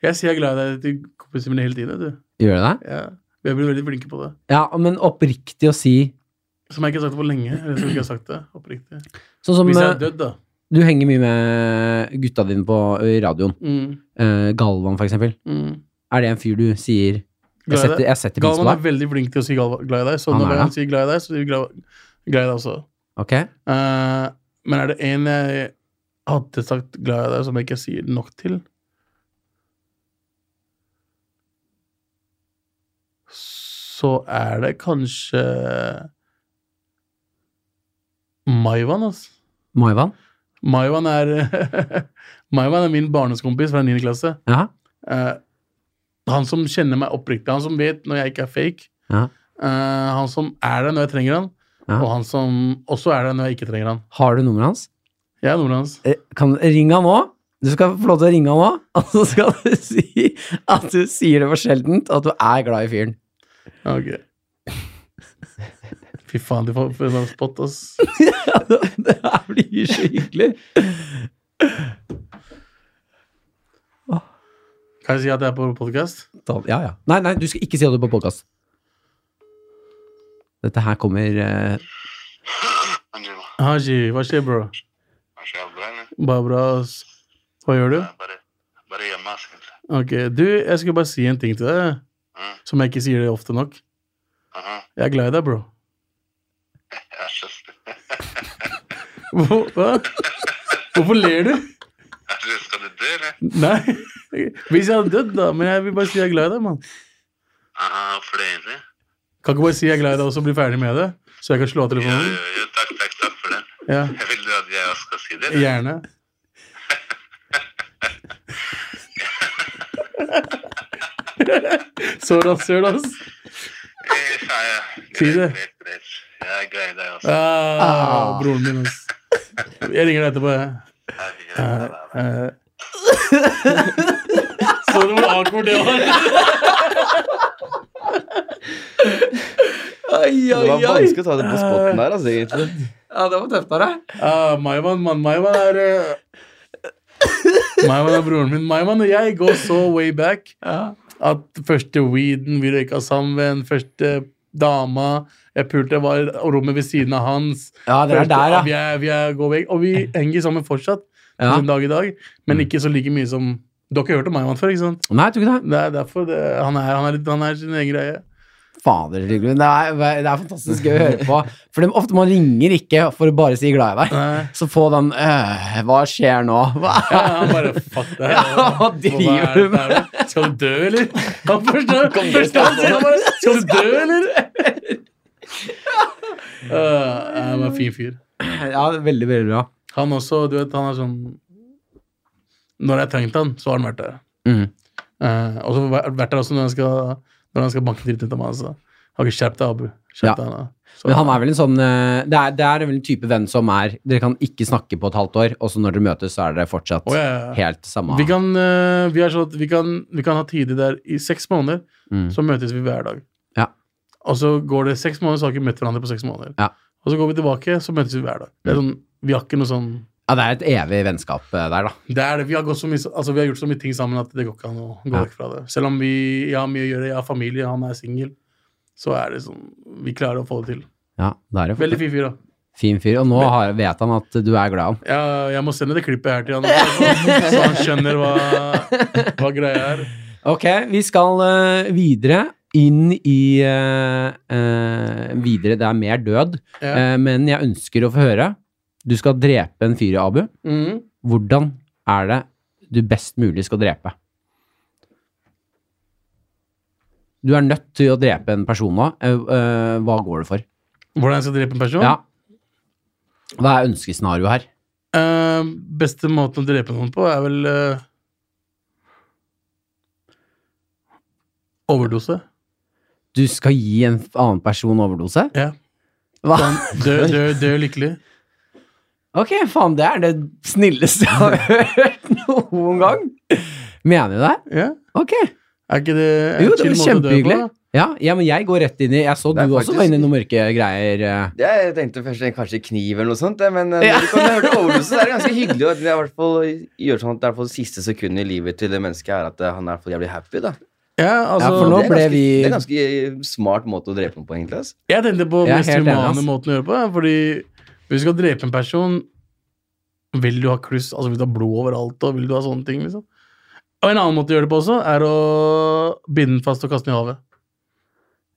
Speaker 2: Jeg sier jeg er glad i deg til kompisene mine hele tiden. vet Du.
Speaker 1: Gjør det det?
Speaker 2: Ja. Vi har blitt veldig flinke på det.
Speaker 1: Ja, men oppriktig å si
Speaker 2: Som jeg ikke har sagt det på lenge. Eller som jeg ikke har sagt det, oppriktig.
Speaker 1: Sånn som
Speaker 2: Hvis jeg
Speaker 1: eh,
Speaker 2: er dødd, da.
Speaker 1: Du henger mye med gutta dine på i radioen.
Speaker 2: Mm.
Speaker 1: Eh, Galvan, for eksempel.
Speaker 2: Mm.
Speaker 1: Er det en fyr du sier Jeg
Speaker 2: Glad i
Speaker 1: setter,
Speaker 2: deg.
Speaker 1: jeg setter pris på
Speaker 2: Galvan er
Speaker 1: deg?
Speaker 2: veldig flink til å si gal- glad i deg, så
Speaker 1: Han
Speaker 2: når
Speaker 1: er
Speaker 2: han
Speaker 1: det.
Speaker 2: sier glad i deg, så sier vi glad, glad i deg også.
Speaker 1: Ok.
Speaker 2: Eh, men er det en jeg hadde sagt glad i deg, som jeg ikke sier nok til? Så er det kanskje Maivan, altså.
Speaker 1: Maivan?
Speaker 2: Maivan er Maivan er min barndomskompis fra 9. klasse.
Speaker 1: Ja.
Speaker 2: Eh, han som kjenner meg oppriktig, han som vet når jeg ikke er fake.
Speaker 1: Ja.
Speaker 2: Eh, han som er der når jeg trenger han,
Speaker 1: Ja.
Speaker 2: og han som også er der når jeg ikke trenger han.
Speaker 1: Har du nummeret hans?
Speaker 2: Jeg er nummeret hans.
Speaker 1: Eh, Kan, ring han nå. Du skal få lov til å ringe han nå, og så skal du si at du sier det for sjeldent, og at du er glad i fyren.
Speaker 2: Ok. Fy faen, du får for en spot, ass.
Speaker 1: Ja, det det her blir så hyggelig.
Speaker 2: Kan jeg si at jeg er på podkast?
Speaker 1: Da, ja, ja. Nei, nei, du skal ikke si det på podkast. Dette her kommer eh,
Speaker 5: Angela,
Speaker 2: Haji, hva skjer, bro?
Speaker 5: I Kanskje jeg er bra, eller?
Speaker 2: Bare bra, ass. Hva gjør du?
Speaker 5: Ja, Bare, bare hjemme, ass, egentlig.
Speaker 2: Ok, du, jeg skulle bare si en ting til deg,
Speaker 5: Mm.
Speaker 2: som jeg ikke sier det ofte nok.
Speaker 5: Aha,
Speaker 2: Jeg er glad i deg, bro.
Speaker 5: jeg er så snill.
Speaker 2: Hvor- Hva? Hvorfor ler du?
Speaker 5: Er du- Skal du dø, eller?
Speaker 2: Nei. Hvis jeg hadde dødd, da. Men jeg vil bare si jeg er glad i deg, mann.
Speaker 5: Aha, hvorfor det egentlig?
Speaker 2: Kan ikke bare si jeg er glad i deg og så bli ferdig med det? Så jeg kan slå av
Speaker 5: Jo,
Speaker 2: telefonen?
Speaker 5: jo, jo, takk, takk, takk for den.
Speaker 2: Ja,
Speaker 5: Jeg vil du at jeg også skal si det? eller?
Speaker 2: Gjerne. Så rasshøl, ass.
Speaker 5: Eh, Ja, ja.
Speaker 2: Si det.
Speaker 5: Greit, greit, greit. Jeg er glad i deg også.
Speaker 2: Ah, broren min, ass. Jeg ringer deg etterpå, jeg.
Speaker 5: Jeg er glad i deg, da.
Speaker 2: Eh. Så du hvor awkward det var?
Speaker 3: Det var vanskelig å ta det på spotten der, altså, egentlig.
Speaker 1: Ja, det var tøft av deg.
Speaker 2: Ah, Maivan, mann. Maivan er eh, Maivan er broren min. Maivan og jeg går så way back at første weeden vi røyka sammen, første dama jeg pulte, var rommet ved siden av hans.
Speaker 1: Ja, dere er
Speaker 2: Første-
Speaker 1: der,
Speaker 2: Vi
Speaker 1: ja.
Speaker 2: er, vi er går vekk. Og vi henger sammen fortsatt
Speaker 1: ja. Mm.
Speaker 2: den dag i dag, men ikke så like mye som Dere har hørt om Maivan før, ikke sant?
Speaker 1: Nei, jeg tror ikke det.
Speaker 2: Det er derfor det, han, er, han, er, litt- han er sin egen greie.
Speaker 1: Fader, det er, det er fantastisk gøy å høre på. For det, ofte man ringer ikke for å bare si glad i deg.
Speaker 2: Nei.
Speaker 1: Så få den øh, Hva skjer nå? Hva?
Speaker 2: Ja, han bare fuck det her.
Speaker 1: Ja, hva driver
Speaker 2: er
Speaker 1: du med?
Speaker 2: det her? Skal du dø, eller? Han forstår, forstår han sier bare Skal du dø, eller? Uh, han var en fin fyr.
Speaker 1: Ja, det er veldig, veldig bra.
Speaker 2: Han også, du vet, han er sånn Når jeg har trengt han, så har han vært der.
Speaker 1: Mhm.
Speaker 2: Eh, og så har han vært der også når han skal, når han skal banke dritten ut av meg. Altså. Har ikke skjerpet deg, Abu.
Speaker 1: Ja.
Speaker 2: Skjerp deg, da. Så-
Speaker 1: Men han er vel en sånn øh, Det er, det er vel en type venn som er Dere kan ikke snakke på et halvt år, og så når dere møtes, så er dere fortsatt
Speaker 2: Å, ja, ja, ja.
Speaker 1: helt samme
Speaker 2: Vi kan, eh, vi, er sånn at vi, kan, vi kan ha tider der i seks måneder,
Speaker 1: Mm.
Speaker 2: så møtes vi hver dag.
Speaker 1: Ja.
Speaker 2: Og så går det seks måneder, så har vi ikke møtt hverandre på seks måneder.
Speaker 1: Ja. Mm.
Speaker 2: Og så går vi tilbake, så møtes vi hver dag. Det er sånn, vi har ikke noe sånn
Speaker 1: Ja, det er et evig vennskap øh, der, da.
Speaker 2: det er det. Vi har, gått så mye, altså, vi har gjort så mye ting sammen at det går ikke an å gå
Speaker 1: Ja.
Speaker 2: vekk fra det. Selv om vi, jeg har mye å gjøre, jeg har familie, han er singel, så er det sånn Vi klarer å få det til.
Speaker 1: Ja, det er jo
Speaker 2: Veldig fin fyr, da.
Speaker 1: fin fyr. Og nå har, vet han at du er glad i ham.
Speaker 2: Jeg, jeg må sende det klippet her til han, også, så han skjønner hva, hva greia er.
Speaker 1: Ok, vi skal øh, videre. Inn i øh, øh, Videre. Det er mer død.
Speaker 2: Ja.
Speaker 1: Eh, men jeg ønsker å få høre. Du skal drepe en fyr, Abu.
Speaker 3: Mm.
Speaker 2: Mhm.
Speaker 1: Hvordan er det du best mulig skal drepe? Du er nødt til å drepe en person nå. Eh, eh, hva går det for?
Speaker 2: Hvordan jeg skal drepe en person?
Speaker 1: Ja. Hva er ønskescenarioet her?
Speaker 2: Eh, beste måten å drepe noen på er vel eh, Overdose.
Speaker 1: Du skal gi en annen person overdose?
Speaker 2: Ja.
Speaker 1: Hva?
Speaker 2: Dø, dø, dø lykkelig.
Speaker 1: Ok, faen, det er det snilleste jeg har hørt noen gang. Mener du det?
Speaker 2: Ja.
Speaker 1: Ok.
Speaker 2: Er ikke det en
Speaker 1: Jo, det var
Speaker 2: chill måte å dø
Speaker 1: kjempehyggelig.
Speaker 2: på?
Speaker 1: Ja, ja, men jeg går rett inn i Jeg så du
Speaker 3: Det er
Speaker 1: også var
Speaker 3: faktisk-
Speaker 1: inne i noen mørke greier. eh.
Speaker 3: Jeg tenkte først en- kanskje kniv eller noe sånt, ja, men eh, når du kommer til overdose, så er det ganske hyggelig at det i hvert fall gjør sånn at det er i hvert fall siste sekundet i livet til det mennesket er at eh, han er i hvert fall jævlig happy, da.
Speaker 2: Ja, altså,
Speaker 1: Ja, for nå
Speaker 3: det,
Speaker 1: ble
Speaker 3: er ganske,
Speaker 1: vi-
Speaker 3: det er ganske eh, smart måte å drepe noen på, egentlig. altså. ass.
Speaker 2: Jeg tenkte på
Speaker 1: Jeg er
Speaker 2: mest
Speaker 1: helt enig, ass.
Speaker 2: humane måten å gjøre det på. ja, Fordi hvis du skal drepe en person, vil du ha kluss, altså vil du ha blod overalt, og vil du ha sånne ting, liksom? Og en annen måte å gjøre det på også, er å binde den fast og kaste den i havet.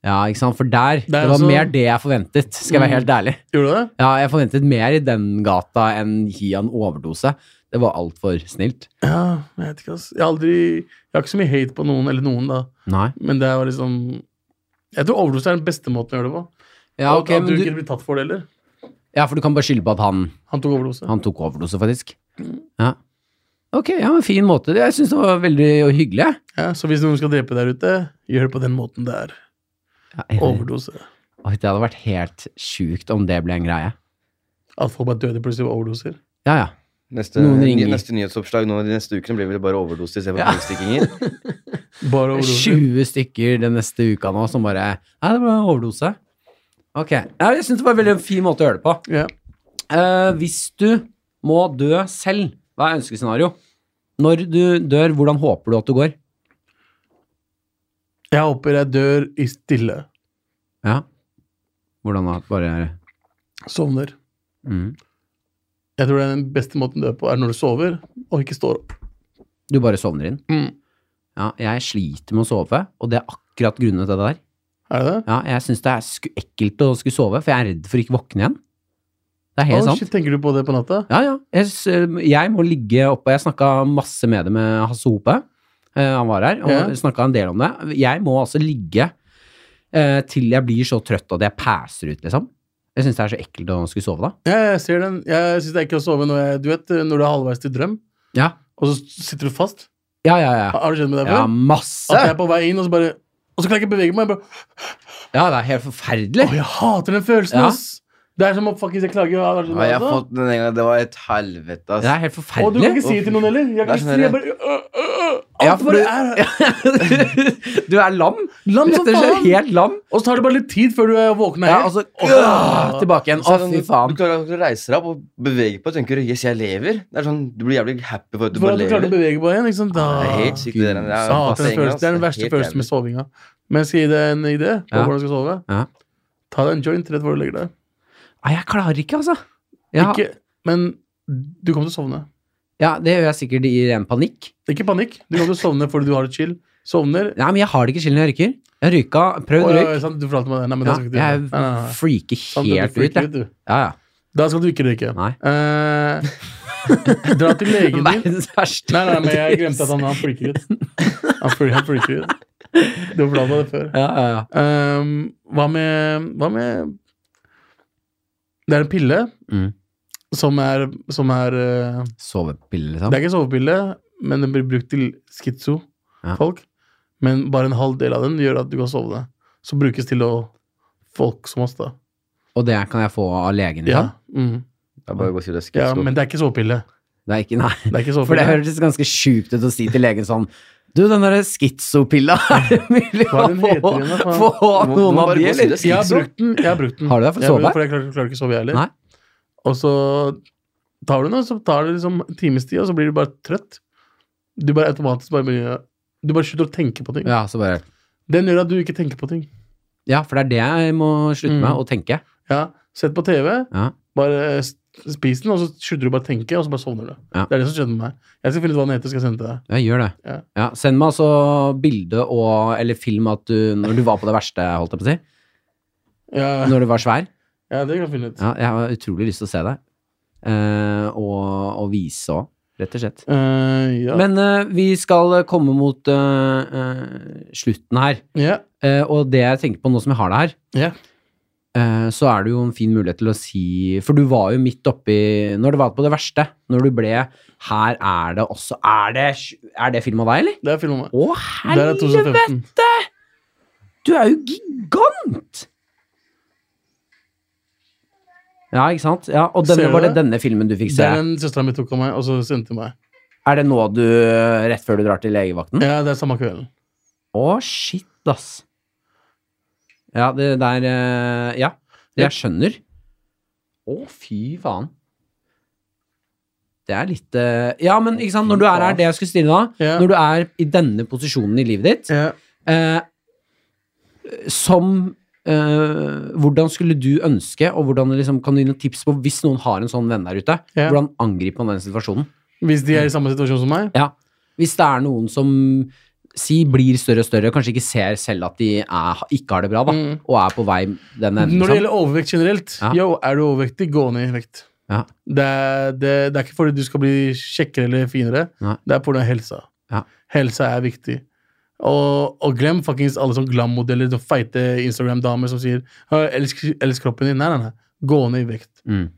Speaker 1: Ja, ikke sant? For der, det,
Speaker 2: er
Speaker 1: var
Speaker 2: også-
Speaker 1: mer det jeg forventet, skal jeg være
Speaker 2: Mm.
Speaker 1: helt ærlig.
Speaker 2: Gjorde du det?
Speaker 1: Ja, jeg forventet mer i den gata enn gi han overdose. Det var altfor snilt.
Speaker 2: Ja, jeg vet ikke, ass. Jeg har aldri Jeg har ikke så mye hate på noen, eller noen, da.
Speaker 1: Nei.
Speaker 2: Men det er jo liksom Jeg tror overdose er den beste måten å gjøre det på.
Speaker 1: Ja,
Speaker 2: Og
Speaker 1: ok,
Speaker 2: at du
Speaker 1: men
Speaker 2: ikke
Speaker 1: du,
Speaker 2: blir tatt for det heller.
Speaker 1: ja for du kan bare skylde på at han,
Speaker 2: Han tok overdose.
Speaker 1: han tok overdose, faktisk. Ja. Ok, ja, men fin måte. Jeg syns det var veldig hyggelig. jeg.
Speaker 2: Ja, så hvis noen skal drepe der ute, gjør det på den måten det er.
Speaker 1: Ja, jeg-
Speaker 2: Overdose.
Speaker 1: Oi, det hadde vært helt sjukt om det ble en greie.
Speaker 2: At folk bare døde plutselig av overdoser.
Speaker 1: Ja, ja.
Speaker 3: Neste,
Speaker 1: Noen
Speaker 3: ny,
Speaker 1: ringer.
Speaker 3: neste nyhetsoppslag nå de neste ukene blir vel bare overdose istedenfor ja. knivstikkinger.
Speaker 2: Bare overdoser.
Speaker 1: 20 stykker den neste uka nå som bare Nei, det var en overdose. Ok. Ja, jeg syns det var en veldig fin måte å gjøre det på.
Speaker 2: Ja.
Speaker 1: Eh, hvis du må dø selv, hva er ønskescenario? Når du dør, hvordan håper du at du går?
Speaker 2: Jeg håper jeg dør i stille.
Speaker 1: Ja. Hvordan da? Bare
Speaker 2: Sovner.
Speaker 1: mm.
Speaker 2: Jeg tror det er den beste måten å dø på, er når du sover og ikke står opp.
Speaker 1: Du bare sovner inn.
Speaker 2: Mm.
Speaker 1: Ja, jeg sliter med å sove, og det er akkurat grunnet til det der.
Speaker 2: Er det det?
Speaker 1: Ja, jeg syns det er sku ekkelt å skulle sove, for jeg er redd for ikke å våkne igjen. Det er helt
Speaker 2: Å,
Speaker 1: sant.
Speaker 2: shit, tenker du på det på natta?
Speaker 1: Ja, ja. Jeg, s- eh, jeg må ligge oppe. Jeg snakka masse med det med Hasse Hope. Eh, han var her og
Speaker 2: Ja.
Speaker 1: snakket snakka en del om det. Jeg må altså ligge eh, til jeg blir så trøtt at jeg passer ut, liksom. Jeg syns det er så ekkelt å skulle sove da.
Speaker 2: Ja, jeg ser den. Jeg syns det er ikke å sove når jeg Du vet når du er halvveis til drøm,
Speaker 1: Ja,
Speaker 2: og så sitter du fast?
Speaker 1: ja, ja. ja.
Speaker 2: Har har det skjedd med deg
Speaker 1: ja
Speaker 2: før?
Speaker 1: masse!
Speaker 2: At jeg er på vei inn, og så bare Og så kan jeg ikke bevege meg. Jeg, bare,
Speaker 1: Ja, det er helt forferdelig.
Speaker 2: å, jeg hater den følelsen,
Speaker 1: Ja.
Speaker 2: ass! Det er som å fuckings jeg klager. og alt det
Speaker 3: Ja, jeg har
Speaker 2: der,
Speaker 3: fått den en gang. Det var et
Speaker 1: Det
Speaker 3: helvete, ass.
Speaker 1: er helt
Speaker 2: Og du kan ikke
Speaker 1: forferdelig.
Speaker 2: si det til noen heller. Jeg kan ikke
Speaker 3: Det er
Speaker 2: si jeg
Speaker 3: sånn
Speaker 2: bare øh, øh, øh.
Speaker 1: Ja,
Speaker 2: Alt
Speaker 1: for
Speaker 2: bare
Speaker 1: du-
Speaker 2: er
Speaker 1: Du er lam.
Speaker 2: Lam som
Speaker 1: Rett og slett
Speaker 2: faen.
Speaker 1: helt lam.
Speaker 2: Og så tar det bare litt tid før du er våkna
Speaker 1: Ja,
Speaker 2: helt.
Speaker 1: og så øh, tilbake igjen. Å, fy
Speaker 3: Sånn, Du
Speaker 1: faen.
Speaker 3: klarer å reise deg opp og bevege på og tenker 'yes, jeg lever'. Det er sånn, Du blir jævlig happy for at du
Speaker 2: For
Speaker 3: bare
Speaker 2: at du klarte å
Speaker 3: lever.
Speaker 2: bevege på igjen. Ikke sant? Da.
Speaker 3: Det er helt sykt. Det der.
Speaker 2: Jeg
Speaker 3: Det er,
Speaker 2: hater Ah,
Speaker 3: bassenget,
Speaker 2: den følelsen.
Speaker 3: ass.
Speaker 2: Det er den
Speaker 3: Det er
Speaker 2: verste
Speaker 3: helt
Speaker 2: følelsen med
Speaker 3: jævlig.
Speaker 2: sovinga. Men jeg skal gi deg en idé på
Speaker 1: Ja.
Speaker 2: hvordan du skal sove.
Speaker 1: Ja.
Speaker 2: Ta deg en joint rett hvor du legger deg.
Speaker 1: Nei, jeg klarer ikke, altså. Ja,
Speaker 2: Ikke, men du kommer til å sovne.
Speaker 1: ja, det gjør jeg sikkert i ren panikk.
Speaker 2: Ikke panikk. Du kommer til å sovne fordi du har det chill. Sovner.
Speaker 1: Nei, men jeg har det ikke chill når jeg røyker. Jeg har røyka, prøvd
Speaker 2: Å, ja,
Speaker 1: røyk.
Speaker 2: sant, du fortalte meg det. Nei,
Speaker 1: Ja,
Speaker 2: men det skal du ikke gjøre. Nei, nei, nei.
Speaker 1: jeg freaker
Speaker 2: Sant, du
Speaker 1: helt ut,
Speaker 2: freaker
Speaker 1: jeg.
Speaker 2: ut, du.
Speaker 1: Ja, ja.
Speaker 2: Da skal du ikke drikke.
Speaker 1: Nei.
Speaker 2: Eh, dra til legen din. Nei,
Speaker 1: Verdens verste.
Speaker 2: nei, men jeg glemte at han, han freaker ut. Han freaker, han freaker ut. Du har fortalt meg det før.
Speaker 1: Ja, ja, ja.
Speaker 2: Ehm, hva med Hva med Det er en pille
Speaker 1: Mm.
Speaker 2: som er, som er eh,
Speaker 1: Sovepille,
Speaker 2: Det
Speaker 1: liksom.
Speaker 2: er ikke en sovepille, men den blir brukt til
Speaker 1: Ja.
Speaker 2: schizo-folk. Men bare en halv del av den gjør at du kan sovne. Så brukes til å folk som oss, da.
Speaker 1: Og det kan jeg få av legen,
Speaker 2: Ja,
Speaker 1: liksom?
Speaker 2: mm.
Speaker 3: Det er bare å gå og si det.
Speaker 2: ja men det er ikke sovepille.
Speaker 1: Det er ikke, nei.
Speaker 2: Det er ikke
Speaker 1: For det
Speaker 2: sovepille.
Speaker 1: høres ganske sjukt ut å si til legen sånn Du, den derre skizopilla, er det mulig
Speaker 2: Hva
Speaker 1: å
Speaker 2: er den
Speaker 1: få,
Speaker 2: heter igjen, da, faen?
Speaker 1: få
Speaker 3: Må- må
Speaker 1: noen av
Speaker 3: bare
Speaker 1: de,
Speaker 3: gå og si
Speaker 1: eller?
Speaker 3: det.
Speaker 2: Jeg har brukt den. Jeg har brukt den.
Speaker 1: Har du det for
Speaker 2: Jeg har brukt
Speaker 1: sove?
Speaker 2: den, For jeg klarer, klarer ikke å sove, jeg
Speaker 1: Nei.
Speaker 2: heller. Og så tar du den, og så tar det liksom en times tid, og så blir du bare trøtt. Du bare automatisk bare begynner Du bare slutter å tenke på ting.
Speaker 1: Ja, så bare
Speaker 2: Den gjør at du ikke tenker på ting.
Speaker 1: Ja, for det er det jeg må slutte
Speaker 2: Mm.
Speaker 1: med, å tenke.
Speaker 2: Ja, Sett på TV,
Speaker 1: Ja.
Speaker 2: bare s- spis den, og så slutter du bare å tenke, og så bare sovner du.
Speaker 1: Ja.
Speaker 2: Det er det som skjedde med meg. Jeg skal finne ut hva den heter, skal jeg sende til deg.
Speaker 1: Ja, gjør det.
Speaker 2: Ja.
Speaker 1: Ja, send meg altså bilde og eller film at du Når du var på det verste, holdt jeg på å si.
Speaker 2: Ja,
Speaker 1: Når du var svær.
Speaker 2: ja det kan jeg finne ut.
Speaker 1: Ja, jeg har utrolig lyst til å se det. Eh, og, og vise òg, rett og slett.
Speaker 2: Eh, ja.
Speaker 1: Men eh, vi skal komme mot eh, eh, slutten her.
Speaker 2: ja.
Speaker 1: Eh, og det jeg tenker på nå som jeg har deg her,
Speaker 2: Ja.
Speaker 1: eh, så er det jo en fin mulighet til å si For du var jo midt oppi Når det var på det verste, når du ble Her er det også Er det, er det film av deg, eller?
Speaker 2: Det er film om meg.
Speaker 1: Å,
Speaker 2: Det er
Speaker 1: helvete!
Speaker 2: 2015.
Speaker 1: Du er jo gigant! Ja, ikke sant? Ja, og
Speaker 2: Ser
Speaker 1: denne,
Speaker 2: du
Speaker 1: var det
Speaker 2: det?
Speaker 1: denne filmen du fikk
Speaker 2: Det
Speaker 1: se?
Speaker 2: er den søstera mi tok av meg, og så sendte til meg.
Speaker 1: Er det nå du Rett før du drar til legevakten? Å,
Speaker 2: Ja, det er samme kvelden.
Speaker 1: shit, ass. Ja, det der eh, Ja, jeg skjønner. Å, fy faen. Det er litt eh, Ja, men ikke sant, når du er her, det jeg skulle stille da,
Speaker 2: Ja.
Speaker 1: når du er i denne posisjonen i livet ditt,
Speaker 2: Ja.
Speaker 1: eh, som eh, Hvordan skulle du ønske, og hvordan liksom, kan du gi noen tips på hvis noen har en sånn venn der ute?
Speaker 2: Ja.
Speaker 1: Hvordan angriper man den situasjonen?
Speaker 2: Hvis de
Speaker 1: Mm.
Speaker 2: er i samme situasjon som meg?
Speaker 1: Ja. Hvis det er noen som si, blir større og større, og kanskje ikke ser selv at de er, ikke har det bra, da,
Speaker 2: Mm.
Speaker 1: og er på vei den enden.
Speaker 2: Når det
Speaker 1: Liksom.
Speaker 2: gjelder overvekt generelt,
Speaker 1: Ja.
Speaker 2: yo, er du overvektig, gå ned i vekt.
Speaker 1: Ja.
Speaker 2: Det, er, det, det er ikke fordi du skal bli kjekkere eller finere,
Speaker 1: Nei.
Speaker 2: det er pga. helsa.
Speaker 1: Ja.
Speaker 2: Helsa er viktig. Og, og glem fuckings alle sånne glam-modeller og feite Instagram-damer som sier «Å, elsk, elsk kroppen din. Nei, nei, nei. Gå ned i vekt.
Speaker 1: Mm.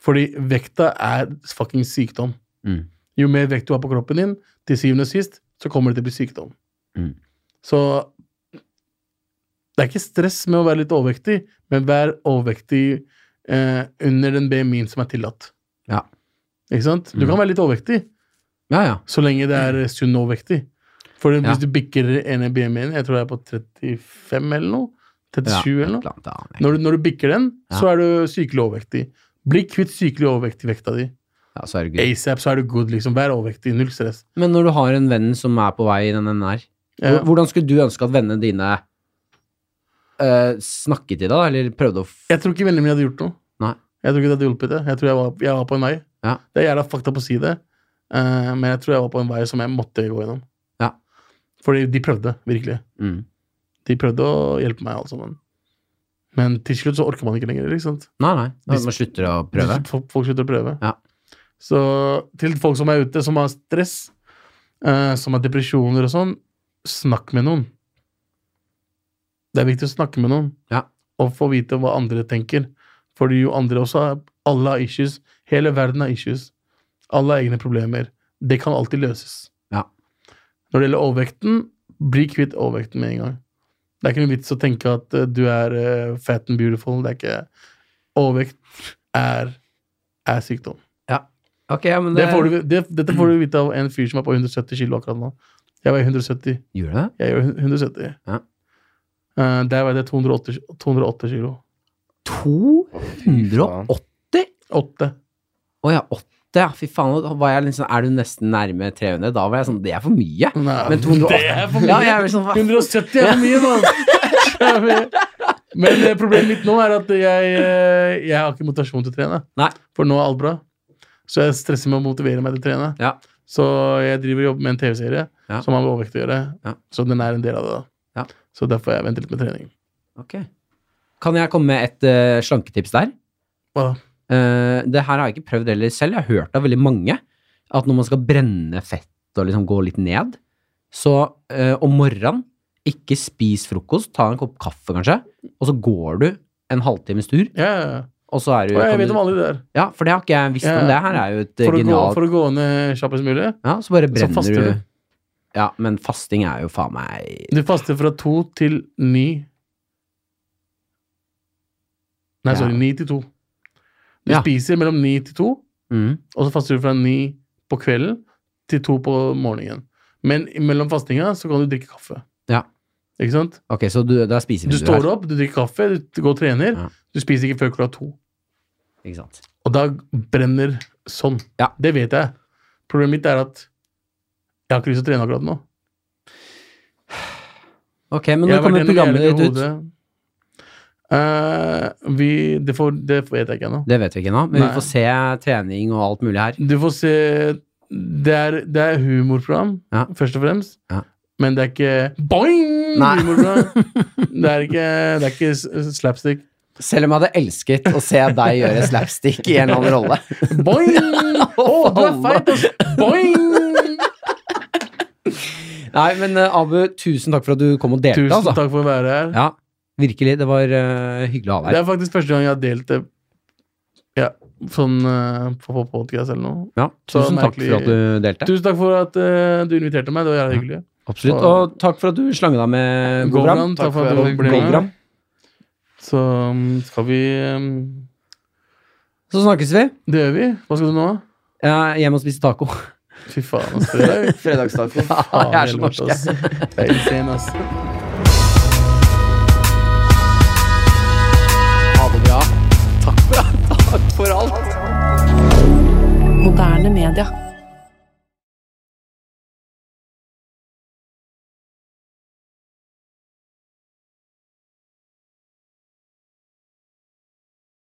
Speaker 2: Fordi vekta er fucking sykdom.
Speaker 1: Mm.
Speaker 2: Jo mer vekt du har på kroppen din, til syvende og sist, så kommer det til å bli sykdom.
Speaker 1: Mm.
Speaker 2: Så det er ikke stress med å være litt overvektig, men vær overvektig eh, under den BMI-en som er tillatt.
Speaker 1: Ja.
Speaker 2: Ikke sant? Du
Speaker 1: Mm.
Speaker 2: kan være litt overvektig,
Speaker 1: Ja, ja.
Speaker 2: så lenge det er sunn overvektig. For
Speaker 1: Ja.
Speaker 2: hvis du bikker ene BMI-en, jeg tror jeg er på 35 eller noe, 37
Speaker 1: ja.
Speaker 2: eller noe,
Speaker 1: et annet, ja.
Speaker 2: når du, når du bikker den,
Speaker 1: Ja.
Speaker 2: så er du sykelig overvektig. Bli kvitt sykelig overvektig vekta di.
Speaker 1: Ja, så er det gøy.
Speaker 2: ASAP, så er du good, liksom. Vær overvektig. Null stress.
Speaker 1: Men når du har en venn som er på vei i den enden her,
Speaker 2: Ja.
Speaker 1: hvor- hvordan skulle du ønske at vennene dine eh, snakket til deg, da, eller prøvde å f
Speaker 2: Jeg Eh, tror ikke vennene mine hadde gjort noe.
Speaker 1: Nei.
Speaker 2: Jeg tror ikke det hadde hjulpet det. Jeg tror jeg var, jeg var på en vei.
Speaker 1: Ja.
Speaker 2: Det er jævla fakta på å si det, eh, men jeg tror jeg var på en vei som jeg måtte gå gjennom.
Speaker 1: Ja.
Speaker 2: Fordi de prøvde, virkelig.
Speaker 1: Mm.
Speaker 2: De prøvde å hjelpe meg, altså, men, men til slutt så orker man ikke lenger. ikke sant?
Speaker 1: Nei, nei. Da
Speaker 2: Hvis-
Speaker 1: må slutte å prøve.
Speaker 2: Folk, folk slutter å prøve.
Speaker 1: Ja.
Speaker 2: Så til folk som er ute, som har stress, eh, som har depresjoner og sånn, snakk med noen. Det er viktig å snakke med noen
Speaker 1: Ja.
Speaker 2: og få vite hva andre tenker. Fordi jo andre også har Alle har issues. Hele verden har issues. Alle har egne problemer. Det kan alltid løses.
Speaker 1: Ja.
Speaker 2: Når det gjelder overvekten, bli kvitt overvekten med en gang. Det er ikke noe vits å tenke at eh, du er eh, fat and beautiful. Det er ikke Overvekt er, er sykdom.
Speaker 1: Ok, ja, men
Speaker 2: Det får du, det, dette får du vite av en fyr som er på 170 kilo akkurat nå. Jeg veier 170.
Speaker 1: Gjorde det?
Speaker 2: Jeg gjør 170.
Speaker 1: Ja.
Speaker 2: Eh, der veide jeg 208, 208 kilo.
Speaker 1: 280? Å
Speaker 2: Åtte.
Speaker 1: ja, 80. Ja, fy faen. Da var jeg liksom, er du nesten nærme 300? Da var jeg sånn Det er for mye.
Speaker 2: Nei,
Speaker 1: Men 208
Speaker 2: Det er for mye.
Speaker 1: Ja, jeg er sånn, hva?
Speaker 2: 170 er for mye, mann! Men eh, problemet mitt nå er at jeg, eh, jeg har ikke motivasjon til å trene.
Speaker 1: Nei.
Speaker 2: For nå er alt bra. Så jeg stresser med å motivere meg til å trene.
Speaker 1: Ja.
Speaker 2: Så jeg driver og jobber med en TV-serie
Speaker 1: Ja.
Speaker 2: som har med overvekt å gjøre.
Speaker 1: Ja.
Speaker 2: Så den er en del av det. da
Speaker 1: Ja.
Speaker 2: Så derfor har jeg ventet litt med trening.
Speaker 1: Ok. Kan jeg komme med et eh, slanketips der?
Speaker 2: Hva da?
Speaker 1: Eh, det her har jeg ikke prøvd heller selv. Jeg har hørt av veldig mange at når man skal brenne fett og liksom gå litt ned, så eh, om morgenen ikke spis frokost, ta en kopp kaffe kanskje, og så går du en halvtimes tur,
Speaker 2: Ja, ja, ja.
Speaker 1: og så er du
Speaker 2: Og jeg
Speaker 1: kan
Speaker 2: vet
Speaker 1: du-
Speaker 2: om alle de der.
Speaker 1: Ja, for det har ikke jeg visst
Speaker 2: Ja,
Speaker 1: om. Det her er jo et eh,
Speaker 2: For å, gå,
Speaker 1: genialt
Speaker 2: for å gå ned kjappest mulig.
Speaker 1: Ja, så bare
Speaker 2: så
Speaker 1: brenner
Speaker 2: faster
Speaker 1: du.
Speaker 2: du.
Speaker 1: Ja, men fasting er jo faen meg
Speaker 2: Du faster fra to til ni. Nei,
Speaker 1: Ja.
Speaker 2: sorry. Ni til to. Du
Speaker 1: Ja.
Speaker 2: spiser mellom ni til to,
Speaker 1: mm.
Speaker 2: og så faster du fra ni på kvelden til to på morgenen. Men mellom fastinga så kan du drikke kaffe.
Speaker 1: Ja.
Speaker 2: Ikke sant?
Speaker 1: Ok, så du, da spiser
Speaker 2: Du
Speaker 1: vi
Speaker 2: står opp, du drikker kaffe, du går og trener.
Speaker 1: Ja.
Speaker 2: Du spiser ikke før klokka to.
Speaker 1: Ikke sant?
Speaker 2: Og da brenner sånn.
Speaker 1: Ja.
Speaker 2: Det vet jeg. Problemet mitt er at jeg har ikke lyst til å trene akkurat nå.
Speaker 1: Ok, men når
Speaker 2: Jeg har vært
Speaker 1: kommer
Speaker 2: gjennom
Speaker 1: programmet
Speaker 2: hele
Speaker 1: ditt ut?
Speaker 2: hodet. Eh, vi, det, får, det vet jeg ikke ennå.
Speaker 1: Det vet vi ikke nå, men
Speaker 2: Nei.
Speaker 1: vi får se trening og alt mulig her.
Speaker 2: Du får se Det er, det er humorprogram,
Speaker 1: Ja.
Speaker 2: først og fremst.
Speaker 1: Ja.
Speaker 2: Men det er ikke boing!
Speaker 1: Nei.
Speaker 2: Humorprogram. Det er ikke, det er ikke s- slapstick.
Speaker 1: Selv om jeg hadde elsket å se deg gjøre slapstick i en eller annen rolle.
Speaker 2: Boing! Å, du er feit, ass! Boing!
Speaker 1: Nei, men eh, Abu, tusen takk for at du kom og delte.
Speaker 2: Tusen
Speaker 1: altså.
Speaker 2: takk for å være her.
Speaker 1: Ja, virkelig. Det var eh, hyggelig å ha
Speaker 2: Det
Speaker 1: deg her.
Speaker 2: er faktisk første gang jeg har delt det ja, sånn eh, på, på podcast eller noe.
Speaker 1: Ja,
Speaker 2: så
Speaker 1: tusen takk
Speaker 2: merkelig-
Speaker 1: for at du delte.
Speaker 2: Tusen takk for at eh, du inviterte meg. Det var jævlig hyggelig.
Speaker 1: Absolutt. Og takk for at du slange deg med Gogram.
Speaker 2: Gogram, takk for at du
Speaker 3: for at
Speaker 2: ble med.
Speaker 1: Gogram.
Speaker 2: Så mm, skal vi mm,
Speaker 1: Så snakkes vi.
Speaker 2: Det gjør vi. Hva skal du nå?
Speaker 1: Jeg er hjemme og spiser taco.
Speaker 2: Fy faen, ass. Det er
Speaker 3: Fredagstaco.
Speaker 1: Jeg er så
Speaker 2: faen,
Speaker 1: norsk, jeg.
Speaker 2: helvete, ass. Det er insane, ass.
Speaker 6: Moderne media.